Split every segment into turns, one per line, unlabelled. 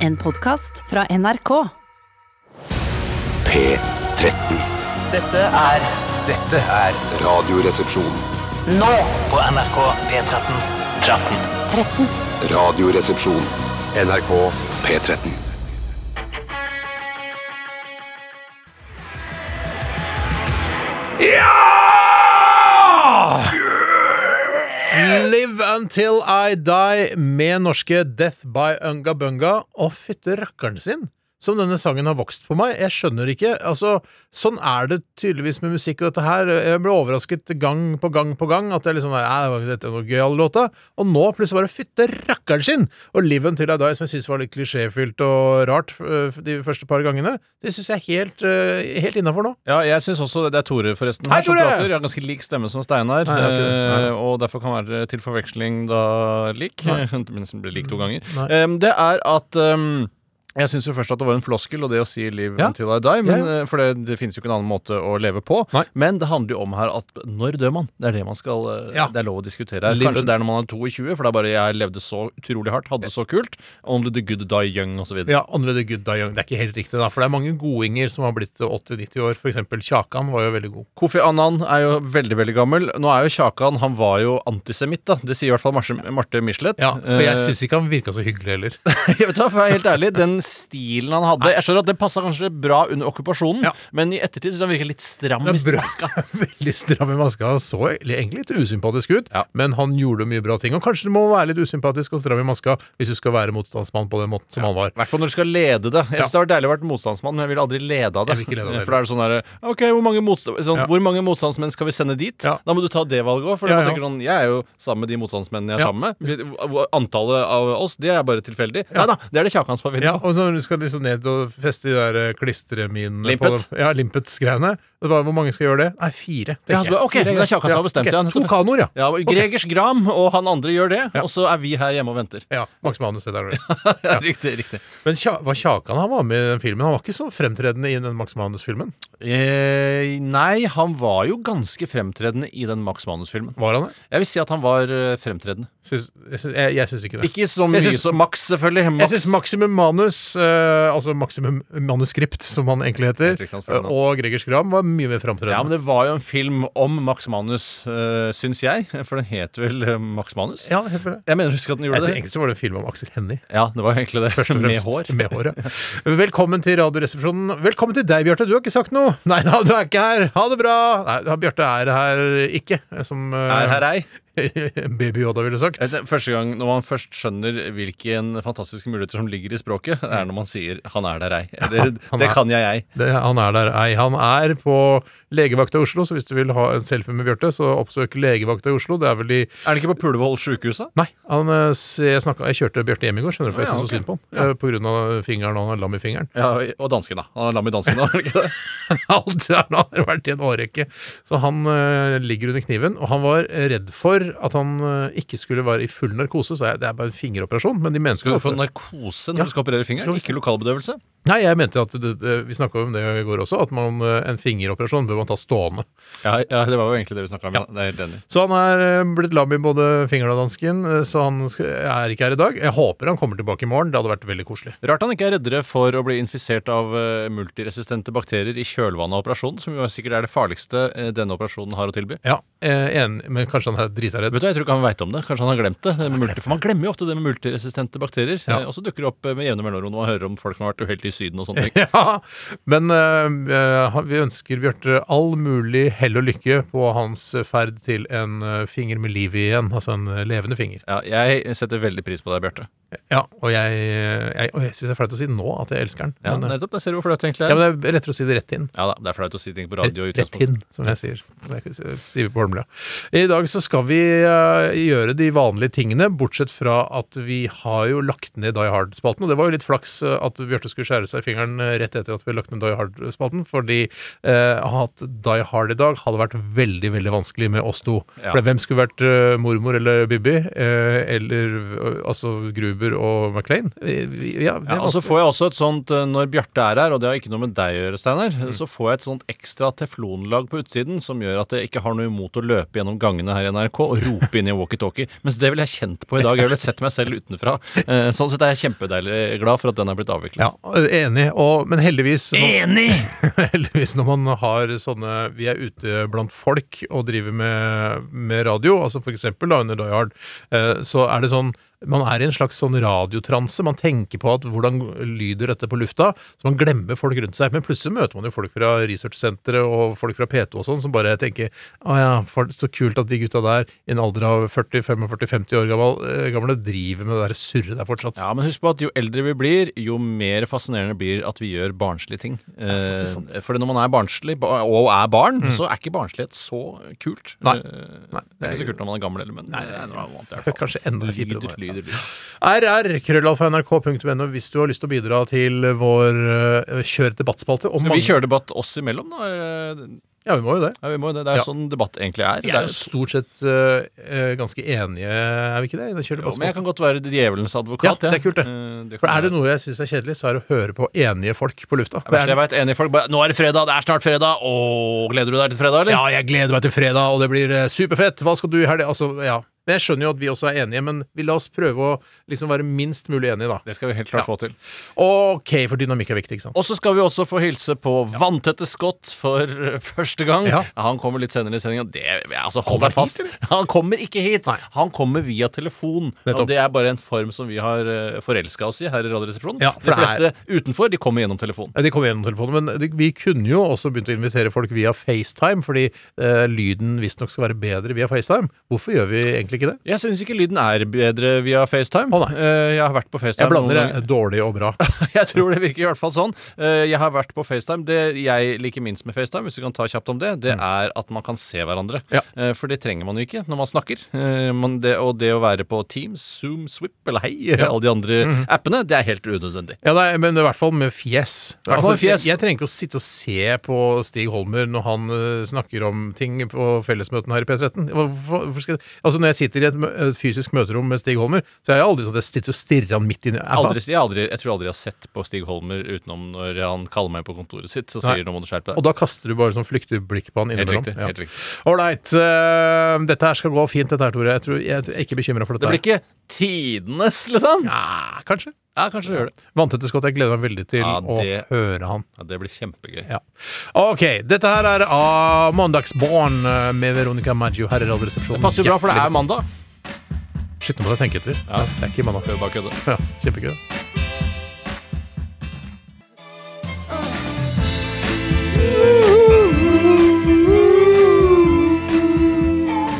En podkast fra NRK.
P13.
Dette er
Dette er
Radioresepsjon.
nå på NRK P13. 13.
Radioresepsjon. NRK P13.
Live Until I Die med norske Death by Unga Bunga. Å, fytte rakkeren sin! Som denne sangen har vokst på meg. Jeg skjønner ikke. Altså, sånn er det tydeligvis med musikk og dette her. Jeg ble overrasket gang på gang på gang at jeg liksom Nei, det var ikke dette noe gøyal låta. Og nå plutselig bare fytte rakkeren sin! Og Live Until I Die, som jeg syns var litt klisjéfylt og rart øh, de første par gangene, det syns jeg er helt, øh, helt innafor nå.
Ja, jeg synes også det- Det er Tore, forresten.
Hei,
her som
Tore!
prater. Jeg har ganske lik stemme som
Nei,
Steinar.
jeg har ikke det. Nei.
eh, Og derfor kan være til forveksling da lik.
Nei.
Mens den blir lik to ganger.
Nei.
Em, Det er at em, jeg syns jo først at det var en floskel, og det å si 'live
Ja.
until I die', men,
Ja, ja.
eh, for det, det finnes jo ikke en annen måte å leve på.
Nei.
Men det handler jo om her at når dør man? Det er det man skal eh,
Ja.
Det er lov å diskutere her.
Live-
Kanskje det er når man er 22, for det er bare 'jeg levde så utrolig hardt, hadde det så kult', 'only the good die young', osv.
Ja, Andre the Good Die Young. Det er ikke helt riktig, da. For det er mange godinger som har blitt 80-90 år. For eksempel Kjakan var jo veldig god.
Kofi Annan er jo veldig veldig gammel. Nå er jo Kjakan han var jo antisemitt, da. Det sier i hvert fall Marte, Marte Michelet.
Ja, Og jeg
Eh,
syns ikke han virka så hyggelig heller.
jeg vet da, for å være helt ærlig, Den stilen han hadde Jeg skjønner at Den passa kanskje bra under okkupasjonen,
Ja.
men i ettertid syns jeg han virker litt stram.
Det
i
er bra.
maska.
Veldig stram i maska. Han så egentlig litt usympatisk ut,
Ja.
men han gjorde mye bra ting. Og kanskje du må være litt usympatisk og stram i maska hvis du skal være motstandsmann på den måten som han var.
I hvert fall når du skal lede det. Jeg
Ja.
synes Det har vært deilig å være motstandsmann, men jeg ville aldri lede av det.
Jeg vil ikke lede av det.
For da er det sånn der, OK, hvor mange, motsta- sånn,
Ja.
hvor mange motstandsmenn skal vi sende dit?
Ja.
Da må du ta det valget òg. For
Ja,
man
ja.
tenker sånn, jeg er jo sammen med de motstandsmennene jeg er
Ja.
sammen med. Antallet av oss, det er bare tilfeldig. Nei da, det er det Kjakan som har funnet
Ja,
på.
og så når du skal liksom ned og feste de der eh, klistreminene
Limpet.
på- Ja, Limpets-greiene. Det var, Hvor mange skal gjøre det? Nei, fire.
Ja, han
tenker
spør,
jeg.
ok, det er Kjakan som har
ok.
bestemt det, ja,
To
nettopp.
kanoer, ja.
Ja, og Gregers Gram og han andre gjør det, og så er vi her hjemme og venter.
Ja, Max Manus heter han.
riktig, riktig.
Men Kja- var Kjakan han var med i den filmen? Han var ikke så fremtredende i den Max Manus-filmen?
Eh, nei, han var jo ganske fremtredende i den Max Manus-filmen.
Var han det?
Jeg vil si at han var eh, fremtredende.
Syns, jeg, syns, jeg, jeg syns ikke det.
Ikke så
Jeg
mye
syns-
som Max, selvfølgelig.
Jeg syns Maximum Manus, eh, altså Maximum Manuskript, som han egentlig heter,
Helt riktig, hans fornavn.
eh, og Gregers Gram var mye mer fremtredende.
Ja, men det var jo en film om Max Manus, uh, syns jeg. For den het vel eh, Max Manus?
Ja, helt for det.
Jeg mener, husker at den
Jeg
gjorde
tror
det.
Egentlig så var det en film om Aksel Hennie.
Ja, det var egentlig det.
først og
Med
fremst.
hår.
Med hår, ja. Velkommen til Radioresepsjonen. Velkommen til deg, Bjarte. Du har ikke sagt noe. Nei da, du er ikke her. Ha det bra. Nei, da, Bjarte er her ikke, som eh,
Er her ei.
Baby Yoda ville sagt.
Jeg ser- Første gang Når man først skjønner hvilken fantastiske muligheter som ligger i språket, er når man sier 'han er der, ei'. Eller,
han
'det
er-
kan jeg, ei'.
Det, han er der, ei. Han er på legevakta i Oslo, så hvis du vil ha en selfie med Bjarte, så oppsøk legevakta i Oslo. Det er vel i
Er det ikke på Pulevoll sjukehuset?
Nei, han, eh, s- jeg, snakka, jeg kjørte Bjarte hjem i går, skjønner du, for jeg
Ja,
syntes så
ok.
synd på han. eh, På grunn av fingeren, og han er lam i fingeren.
Ja, og dansken, da. Han er lam i dansken, da. er det ikke det?
Alt det der nå har vært i en årrekke. Så han eh, ligger under kniven, og han var redd for at han eh, ikke skulle være i full narkose, så jeg, det er bare en fingeroperasjon, men de
Skal
menneskene
du få narkose når
Ja.
du skal operere fingeren?
Skal vi-
Ikke lokalbedøvelse?
Nei, jeg mente at det, det, vi snakka om det i går også, at man, eh, en fingeroperasjon bør man ta stående.
Ja, ja, det var jo egentlig det vi snakka om. Ja. Det er jeg helt enig. i.
Så han er eh, blitt lam i både fingeren og dansken, eh, så han sk- er ikke her i dag. Jeg håper han kommer tilbake i morgen. Det hadde vært veldig koselig.
Rart han ikke er reddere for å bli infisert av eh, multiresistente bakterier i kjølvannet av operasjonen, som jo sikkert er det farligste eh, denne operasjonen har å tilby.
Ja, eh, en, Men kanskje han er drita redd.
Vet du, Jeg tror ikke han veit om det. Kanskje han har glemt det. det med multi, for Man glemmer jo ofte det med multiresistente bakterier.
Ja.
eh, Og så dukker det opp eh, med jevne mellomrom når man hører om folk som har vært uheldige i Syden og sånne ting.
Ja, men eh, eh, han- vi ønsker Bjarte all mulig hell og lykke på hans ferd til en eh, finger med liv i igjen, altså en eh, levende finger.
Ja, jeg setter veldig pris på deg, Bjarte.
Ja, og jeg, eh, jeg, og jeg syns det er flaut å si nå at jeg elsker den.
Ja,
men, eh,
nettopp. Der ser du hvor flaut det egentlig
ja,
er.
men det er lettere å si det rett inn.
Ja da, Det er flaut å si ting på radio. i
Rett
utgangspunktet.
inn, som jeg sier. Som jeg sier på Holmlia. I dag så skal vi eh, gjøre de vanlige tingene, bortsett fra at vi har jo lagt ned Die Hard-spalten. Og det var jo litt flaks eh, at Bjarte skulle skjære seg i fingeren eh, rett etter at vi har lagt ned Die Hard-spalten, fordi eh, å ha hatt Die Hard i dag hadde vært veldig, veldig vanskelig med oss to.
Ja.
For hvem skulle vært eh, mormor eller Bibi? Eh, eller eh, altså Grub, Stuber og Maclean. Ja, det er
Ja, altså og så
vanskelig.
får jeg også et sånt, eh, Når Bjarte er her, og det har ikke noe med deg å gjøre, Steinar, så får jeg et sånt ekstra teflonlag på utsiden som gjør at jeg ikke har noe imot å løpe gjennom gangene her i NRK og rope inn i en walkietalkie. Mens det ville jeg kjent på i dag. Jeg ville sett meg selv utenfra. Eh, Sånn sett er jeg kjempedeilig glad for at den er blitt avviklet.
ja, eh, enig, og, men heldigvis nå-
Enig!
Heldigvis når man har sånne Vi er ute blant folk og driver med, med radio, altså for eksempel da, under Die Hard, eh, så er det sånn Man er i en slags sånn radiotranse. Man tenker på at hvordan lyder dette på lufta, så man glemmer folk rundt seg. Men plutselig møter man jo folk fra researchsenteret og folk fra P2 og sånn som bare tenker Å ja, for, så kult at de gutta der i en alder av 40-45-50 år gammel, eh, gamle driver med det der surret der fortsatt.
Ja, Men husk på at jo eldre vi blir, jo mer fascinerende blir at vi gjør barnslige ting. Eh,
faktisk sant. Mm.
Fordi når man er barnslig, ba- og er barn, så er ikke barnslighet så kult.
Nei.
Eh,
Nei,
Det er
det
ikke så
er-
kult når man er gammel, eller, men nei, det er noe annet i hvert fall.
Kanskje enda kjipere.
Lyder, lyder, lyder.
rr.krøllalfa.nrk.no hvis du har lyst til å bidra til vår eh, kjør debattspalte. Om
Skal vi
mange-
kjøre debatt oss imellom, da? Eh,
Ja, vi må jo det.
Ja, vi må jo det. Det er jo
Ja.
sånn debatt egentlig er.
Vi
Det
er
er
jo
jo to-
stort sett eh, eh, ganske enige, er vi ikke det? i den kjør
Jo, men jeg
debattspalte?
kan godt være djevelens
Ja,
advokat.
det er kult, det.
Eh, det
For
kan
er det
være.
noe jeg syns er kjedelig, så er det å høre på enige folk på lufta.
Det verste jeg vet, enige folk bare Nå er det fredag, det er snart fredag. Åh, gleder du deg til fredag, eller?
Ja, jeg gleder meg til fredag, og det blir eh, superfett! Hva skal du i helga? Altså, ja. Men Jeg skjønner jo at vi også er enige, men vi la oss prøve å liksom være minst mulig enige, da.
Det skal vi helt klart få til.
OK, for dynamikk er viktig, ikke sant?
Og så skal vi også få hilse på Vanntette Scott for eh, første gang.
Ja.
Han kommer litt senere i sendinga. Altså, hold
Kommer
deg fast.
hit,
han kommer ikke hit. Han kommer via telefon.
Nettopp.
Og det er bare en form som vi har forelska oss i her i Radioresepsjonen.
Ja,
de
for
fleste
det
utenfor, de kommer gjennom telefon.
Ja, De kom gjennom telefonen, men det- vi kunne jo også begynt å invitere folk via FaceTime, fordi eh, lyden visstnok skal være bedre via FaceTime. Hvorfor gjør vi egentlig ikke det?
Jeg syns ikke lyden er bedre via FaceTime.
Å, nei.
Eh, jeg har vært på
Jeg
FaceTime.
blander
noen
det dårlig og bra.
ganger. Jeg tror det virker i hvert fall sånn. Eh, jeg har vært på FaceTime. Det jeg liker minst med FaceTime, hvis vi kan ta kjapt om det, det er at man kan se hverandre.
Mm. Ja.
Eh, for det trenger man jo ikke når man snakker. Eh, man, det, og det å være på Teams, Zoom, Swip eller Hei, alle de andre
Mm.
appene, det er helt unødvendig.
Ja, nei, men i hvert fall med fjes.
hvert fall
Altså,
med fjes.
Jeg, jeg trenger ikke å sitte og se på Stig Holmer når han eh, snakker om ting på fellesmøtene her i P13. Hvorfor, hvorfor skal, jeg- altså, når jeg sitter i et, mø- et fysisk møterom med Stig Holmer, så er jeg aldri sånn at jeg sitter og stirrer han midt inn i
Aldri, jeg, aldri, jeg tror aldri jeg har sett på Stig Holmer utenom når han kaller meg på kontoret sitt, så
Nei.
sier han må du skjerpe
Og
deg.
da kaster du bare sånn flyktig blikk på han
Helt
innimellom.
riktig.
Ja.
helt riktig.
Ålreit. Uh, dette her skal gå fint, dette her, Tore. Jeg, tror, jeg er ikke bekymra for
Det
dette.
blir ikke tidenes, liksom.
Nei, kanskje.
Ja, kanskje det gjør det.
Vanntette Scott, jeg gleder meg veldig til
Ja, det-
å høre han.
Ja, det blir kjempegøy.
Ja. OK. Dette her er av Mandagsbarn eh, med Veronica Maggio her i Radioresepsjonen.
Det passer jo bra, for det er mandag.
Shit, nå må jeg tenke etter.
Ja.
Det er ikke mandag.
Prøv bare å kødde.
Ja, Kjempegøy.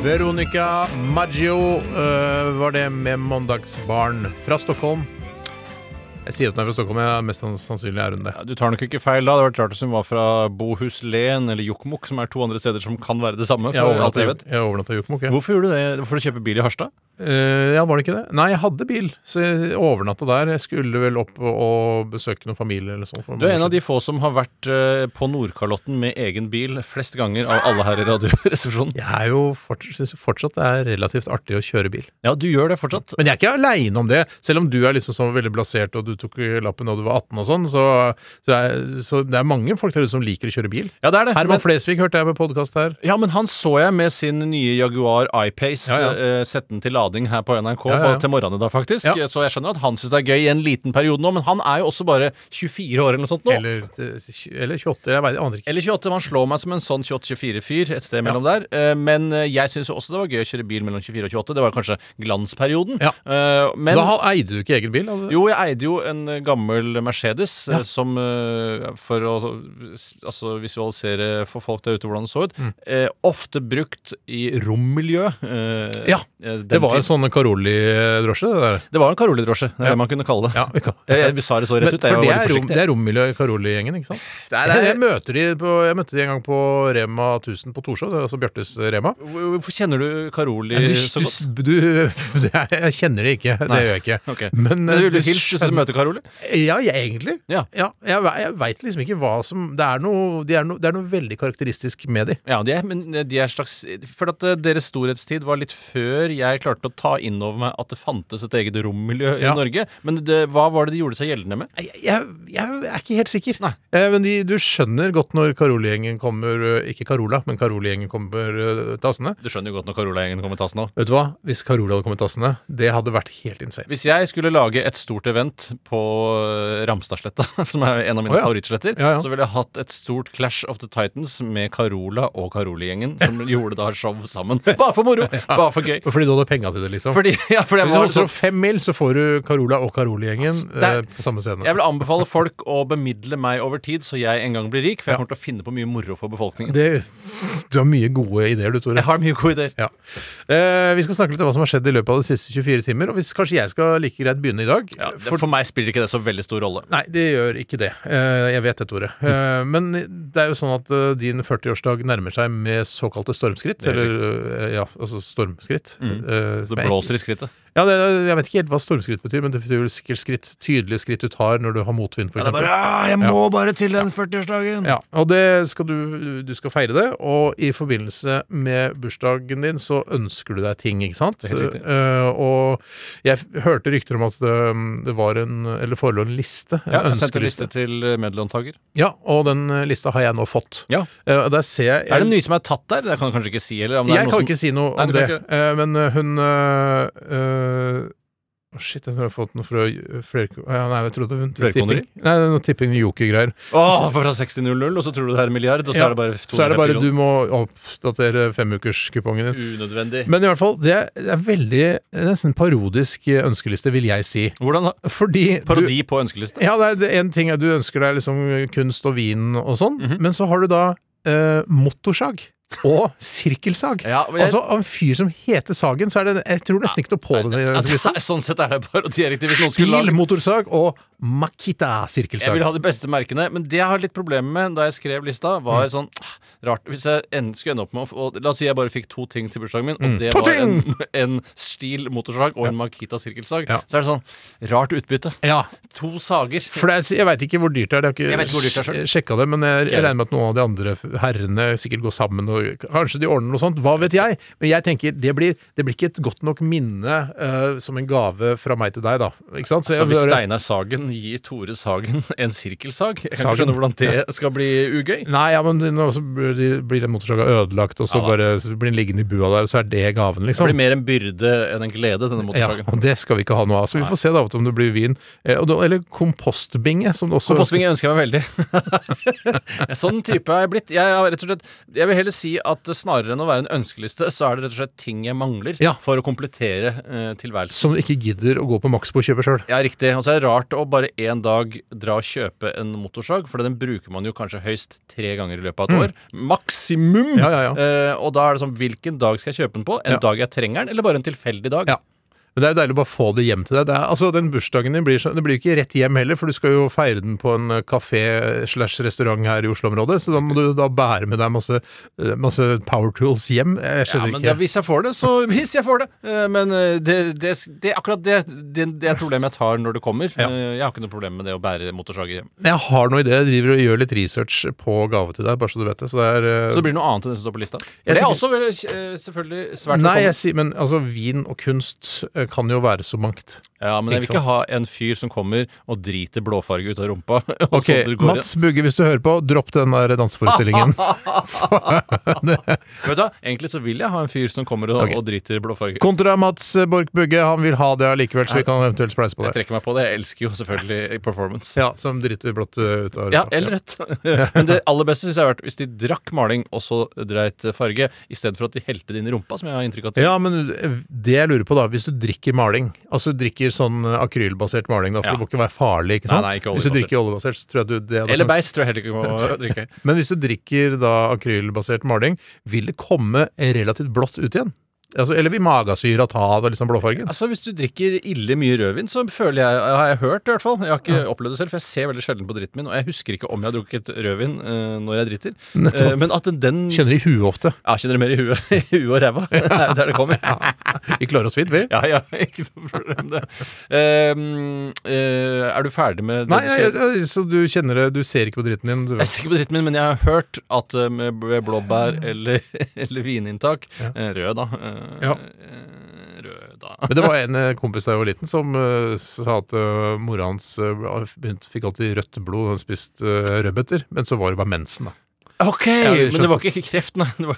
Veronica Maggio eh, var det med Mandagsbarn fra Stockholm. Jeg sier at hun er fra Stockholm, men mest sannsynlig er hun det.
Ja, du tar nok ikke feil da. Det hadde vært rart hvis hun var fra Bohuslen eller Jokkmokk, som er to andre steder som kan være det samme.
Jeg
For alt
overnatta
jeg
i-
vet.
jeg overnatta i Jokkmokk, jeg.
Hvorfor gjorde du det? For å kjøpe bil i Harstad?
Eh, ja, var det ikke det? Nei, jeg hadde bil, så jeg overnatta der. Jeg skulle vel opp og, og besøke noen familie eller sånn. for
Du er
mange
en av
år
de få som har vært eh, på Nordkalotten med egen bil flest ganger av alle her i Radioresepsjonen.
siden. Jeg er jo fortsatt, synes jo fortsatt det er relativt artig å kjøre bil.
Ja, du gjør det fortsatt.
Men jeg er ikke aleine om det. Selv om du er liksom sånn veldig blasert og du tok lappen da du var 18 og sånn, så, så, er, så det er mange folk der ute som liker å kjøre bil.
Ja, det er det.
Herman
Men-
Flesvig hørte jeg på podkast her.
Ja, men han så jeg med sin nye Jaguar I-Pace.
Ja, ja.
eh, sette den til lading her på NRK
Ja, ja, ja.
på- til morgenen i dag, faktisk.
Ja.
Så jeg skjønner at han syns det er gøy i en liten periode nå, men han er jo også bare 24 år eller noe sånt nå.
Eller, eller 28, jeg vet- jeg aner ikke.
Eller 28. Man slår meg som en sånn 28-24-fyr et sted mellom der. Eh, Men eh, jeg syns også det var gøy å kjøre bil mellom 24 og 28. Det var kanskje glansperioden.
Ja.
Eh, Men
da ha- eide du ikke egen bil? altså? hadde du?
jo, jeg eide jo en eh, gammel Mercedes eh, som eh, For å s- altså, visualisere for folk der ute hvordan den så ut.
Mm.
eh, Ofte brukt i rommiljø. eh,
Ja,
eh, den
Det var
tid-
en sånn Caroli-drosje, det der.
det var en Karoli-drosje. Det er
Ja.
det man kunne kalle det.
Ja, vi kan.
Jeg, jeg sa det så rett
Men,
ut. Jeg
for
var
det
veldig
er, rom,
forsiktig.
det er rommiljø i Caroli-gjengen, ikke sant?
Det er-
Jeg,
det er-
jeg, møter de på, jeg møtte de en gang på Rema 1000 på Torshov, det er altså Bjartes Rema.
Hvorfor kjenner du Karoli
Du,
Eh, så godt?
du, du, det er- jeg kjenner det ikke, det
Nei.
gjør jeg ikke.
Ok.
Men,
Men
eh,
du, du, hilser, så møter dette, Karoli?
Ja, jeg, egentlig.
Ja.
jeg ve- jeg veit liksom ikke hva som Det er noe, de er noe, det er noe veldig karakteristisk med de.
Ja, de er, men eh, de er slags For at eh, deres storhetstid var litt før jeg klarte å ta inn over meg at det fantes et eget rommiljø
Ja.
i Norge. Men det, hva var det de gjorde seg gjeldende med?
Jeg, jeg, jeg er ikke helt sikker.
Nei.
Eh, men de, du skjønner godt når Karoli-gjengen kommer eh, Ikke Carola, men Karoli-gjengen kommer eh, tassende.
Du skjønner jo godt når Carola-gjengen kommer tass nå.
Vet du hva? Hvis Carola hadde kommet tassende, det hadde vært helt insane.
Hvis jeg skulle lage et stort event på eh, Ramstadsletta, som er en av mine
Å, ja.
favorittsletter,
Ja, ja.
så ville jeg hatt et stort Clash of the Titans med Carola og Caroli-gjengen, som gjorde da show sammen. Bare for moro! Bare for gøy.
Fordi du hadde penga til det, liksom.
Fordi, ja, fordi
Hvis
jeg,
du
var
holder
sånn,
opp fem mil, så får du Carola og Caroli-gjengen
Altså, det er-
eh, på samme scene.
jeg vil anbefale folk å bemidle meg over tid, så jeg en gang blir rik, for jeg kommer til å finne på mye moro for befolkningen.
Det, du har mye gode ideer, du, Tore.
Jeg har mye gode ideer.
Ja. Eh, vi skal snakke litt om hva som har skjedd i løpet av de siste 24 timer. Og hvis kanskje jeg skal like greit begynne i dag.
Ja, det, for meg spiller ikke det så veldig stor rolle.
Nei, det gjør ikke det. Eh, jeg vet det, Tore.
Mm.
Eh, men det er jo sånn at eh, din 40-årsdag nærmer seg med såkalte stormskritt.
er Mm.
Eller eh, ja, altså stormskritt. Eh,
Det
men-
blåser i skrittet.
Ja, det, jeg vet ikke helt hva stormskritt betyr, men det betyr vel sikkert skritt, tydelige skritt du tar når du har motvind, f.eks.
«Ah, jeg må bare til den 40-årsdagen!
Ja, og det skal du, du skal feire det, og i forbindelse med bursdagen din så ønsker du deg ting, ikke sant?
Det er helt riktig.
Eh, og jeg f- hørte rykter om at det, mm, det var en, eller forelå en liste, en
Ja, jeg sendte
ønskeliste.
liste til eh, medlåntaker.
Ja, og den eh, lista har jeg nå fått.
Ja.
Eh, og der ser jeg...
Er det nye som er tatt der? Det kan du kanskje ikke si? Eller, om det
jeg
er noe
kan
som-
ikke si noe
Nei,
om
du kan
det, eh, men eh, hun eh, eh, å, Shit, jeg tror jeg har fått noe fra eh, Flerko... Ja, nei, jeg trodde hun
Flerkoneri?
tipping. Nei, det er noe tipping joker-greier.
Åh, for fra 6000, og så tror du det er en milliard, og så
Ja,
er det bare 200
Så er det bare
kroner.
du må oppdatere femukerskupongen din.
Unødvendig.
Men i hvert fall, det er- det er veldig det er nesten parodisk eh, ønskeliste, vil jeg si.
Hvordan da?
Fordi
Parodi på ønskeliste?
Du, ja, det er det- en ting er du ønsker deg liksom kunst og vin og sånn,
Mhm.
men så har du da eh, motorsag og sirkelsag.
Ja, men jeg-
Altså, av en fyr som heter Sagen, så er det Jeg tror nesten ikke noe på den eh, i
Ja, det
ønskelista.
er, sånn sett er det parodieriktig. Hvis noen skulle lage
Bilmotorsag og
Jeg vil
Makita-sirkelsag.
ha de beste merkene, men det jeg har litt problemer med da jeg skrev lista,
Mm.
var sånn ah, rart Hvis jeg en, skulle ende opp med å få- og, La oss si jeg bare fikk to ting til bursdagen min, og
Mm.
det
To
var en, en stil motorsag og en Makita sirkelsag,
Ja.
så er det sånn rart utbytte.
Ja.
To sager.
For det er, jeg veit ikke hvor dyrt det er, det
Jeg
har
vet ikke hvor dyrt det er
ikke
selv.
sjekka det, men jeg, jeg
heller.
regner med at noen av de andre f- herrene sikkert går sammen, og kanskje de ordner noe sånt, hva vet jeg? Men jeg tenker, det blir, det blir ikke et godt nok minne eh, som en gave fra meg til deg, da. Ikke sant? Så
Så
jeg,
Altså, hvis
bare-
Steinar Sagen gir Tore Sagen en sirkelsag Jeg kan
Sagen.
ikke skjønne hvordan det skal bli ugøy.
Nei, ja, men nå så blir de- blir den motorsaga ødelagt, og så,
Ja da.
bare, så blir den liggende i bua der, og så er det gaven,
Det blir
liksom.
mer en byrde enn en glede, denne
Ja,
motorsagen.
og det skal vi ikke ha noe av. Så vi får se da om det blir vin. Eh, og da- Eller kompostbinge, som det også
Kompostbinge ønsker jeg meg veldig. sånn type er jeg blitt. Jeg, har rett og slett, jeg vil heller si at snarere enn å være en ønskeliste, så er det rett og slett ting jeg mangler
Ja.
for å komplettere eh, tilværelsen.
Som du ikke gidder å gå på Maxbo og kjøpe sjøl.
Ja, riktig. Og så er det rart å bare en dag dra og kjøpe en motorsag, for den bruker man jo kanskje høyst tre ganger i løpet av et år. Maksimum!
Mm. Ja, ja, ja.
Eh, og da er det sånn, hvilken dag skal jeg kjøpe den på? En
Ja.
dag jeg trenger den, eller bare en tilfeldig dag?
Ja. Men det er jo deilig å bare få det hjem til deg. Det er, altså, den bursdagen din blir, så, det blir jo ikke rett hjem heller, for du skal jo feire den på en eh, kafé slash restaurant her i Oslo-området, så da må du da bære med deg masse, eh, masse power tools hjem. Jeg
Ja,
skjønner
men da,
ikke.
hvis jeg får det, så hvis jeg får det. Eh, Men eh, det, det, det akkurat det, det, det er problemet jeg tar når det kommer.
Ja.
Eh, Jeg har ikke noe problem med det å bære motorsager hjem.
Jeg har noe i det. Jeg driver og gjør litt research på gave til deg, bare så du vet det. Så det er eh,
Så det blir noe annet enn det som står på lista. For
Jeg
det er
tenker-
også vel, eh, selvfølgelig svært
Nei, jeg
velkommen.
sier, men altså, vin og kunst eh, kan jo være så mangt.
Ja, men jeg vil
Ikke
ikke
sant.
ha en fyr som kommer og driter blåfarge ut av rumpa. og
Ok,
så det går-
Mats Bugge, hvis du hører på, dropp den der danseforestillingen.
Vet du hva, Egentlig så vil jeg ha en fyr som kommer og, og driter blåfarge.
Kontra Mats Borch Bugge, han vil ha det allikevel, så vi kan eventuelt spleise på
Jeg
det.
trekker meg på det. Jeg elsker jo selvfølgelig performance.
Ja, som driter blått eh, ut av
Ja, eller rødt. Men det aller beste syns jeg har vært hvis de drakk maling og så dreit farge, i stedet for at de helte det inn i rumpa, som jeg har inntrykk av. at-
Ja, men det jeg lurer på da, hvis du drikker maling, altså du drikker sånn akrylbasert maling da, for
Ja.
det må ikke være farlig, ikke sant?
Nei, nei, ikke
hvis du
oljebasert.
drikker oljebasert, så tror jeg du det da
Eller
kan-
beist tror jeg heller ikke må drikke.
Men hvis du drikker da akrylbasert maling, vil det komme relativt blått ut igjen? Altså, eller vil magasyra ta av deg liksom blåfargen?
Altså, Hvis du drikker ille mye rødvin, så føler jeg Har jeg hørt, i hvert fall. Jeg har ikke opplevd det selv, for jeg ser veldig sjelden på dritten min. Og jeg husker ikke om jeg har drukket rødvin eh, når jeg driter.
Nettopp.
Eh, men at den
Kjenner i huet ofte.
Ja, kjenner det mer i huet, i huet og ræva. Det er jo der det kommer.
Vi klarer oss fint, vi.
Ja, ja, ikke noe problem det. Eh, eh, er du ferdig med det
Nei,
du
ja,
sier?
ja, ja, så du kjenner det Du ser ikke på dritten din? Du.
Jeg ser ikke på dritten min, men jeg har hørt at eh, med ved blåbær eller, eller vininntak eh, Rød, da. eh,
Ja.
eh, Rød, da.
Men det var en eh, kompis da jeg var liten, som eh, sa at uh, mora hans eh, begynte- fikk alltid rødt blod. Hun spiste eh, rødbeter, men så var det bare mensen, da.
Ok,
jeg
Men det var ikke kreft, nei. Det, var,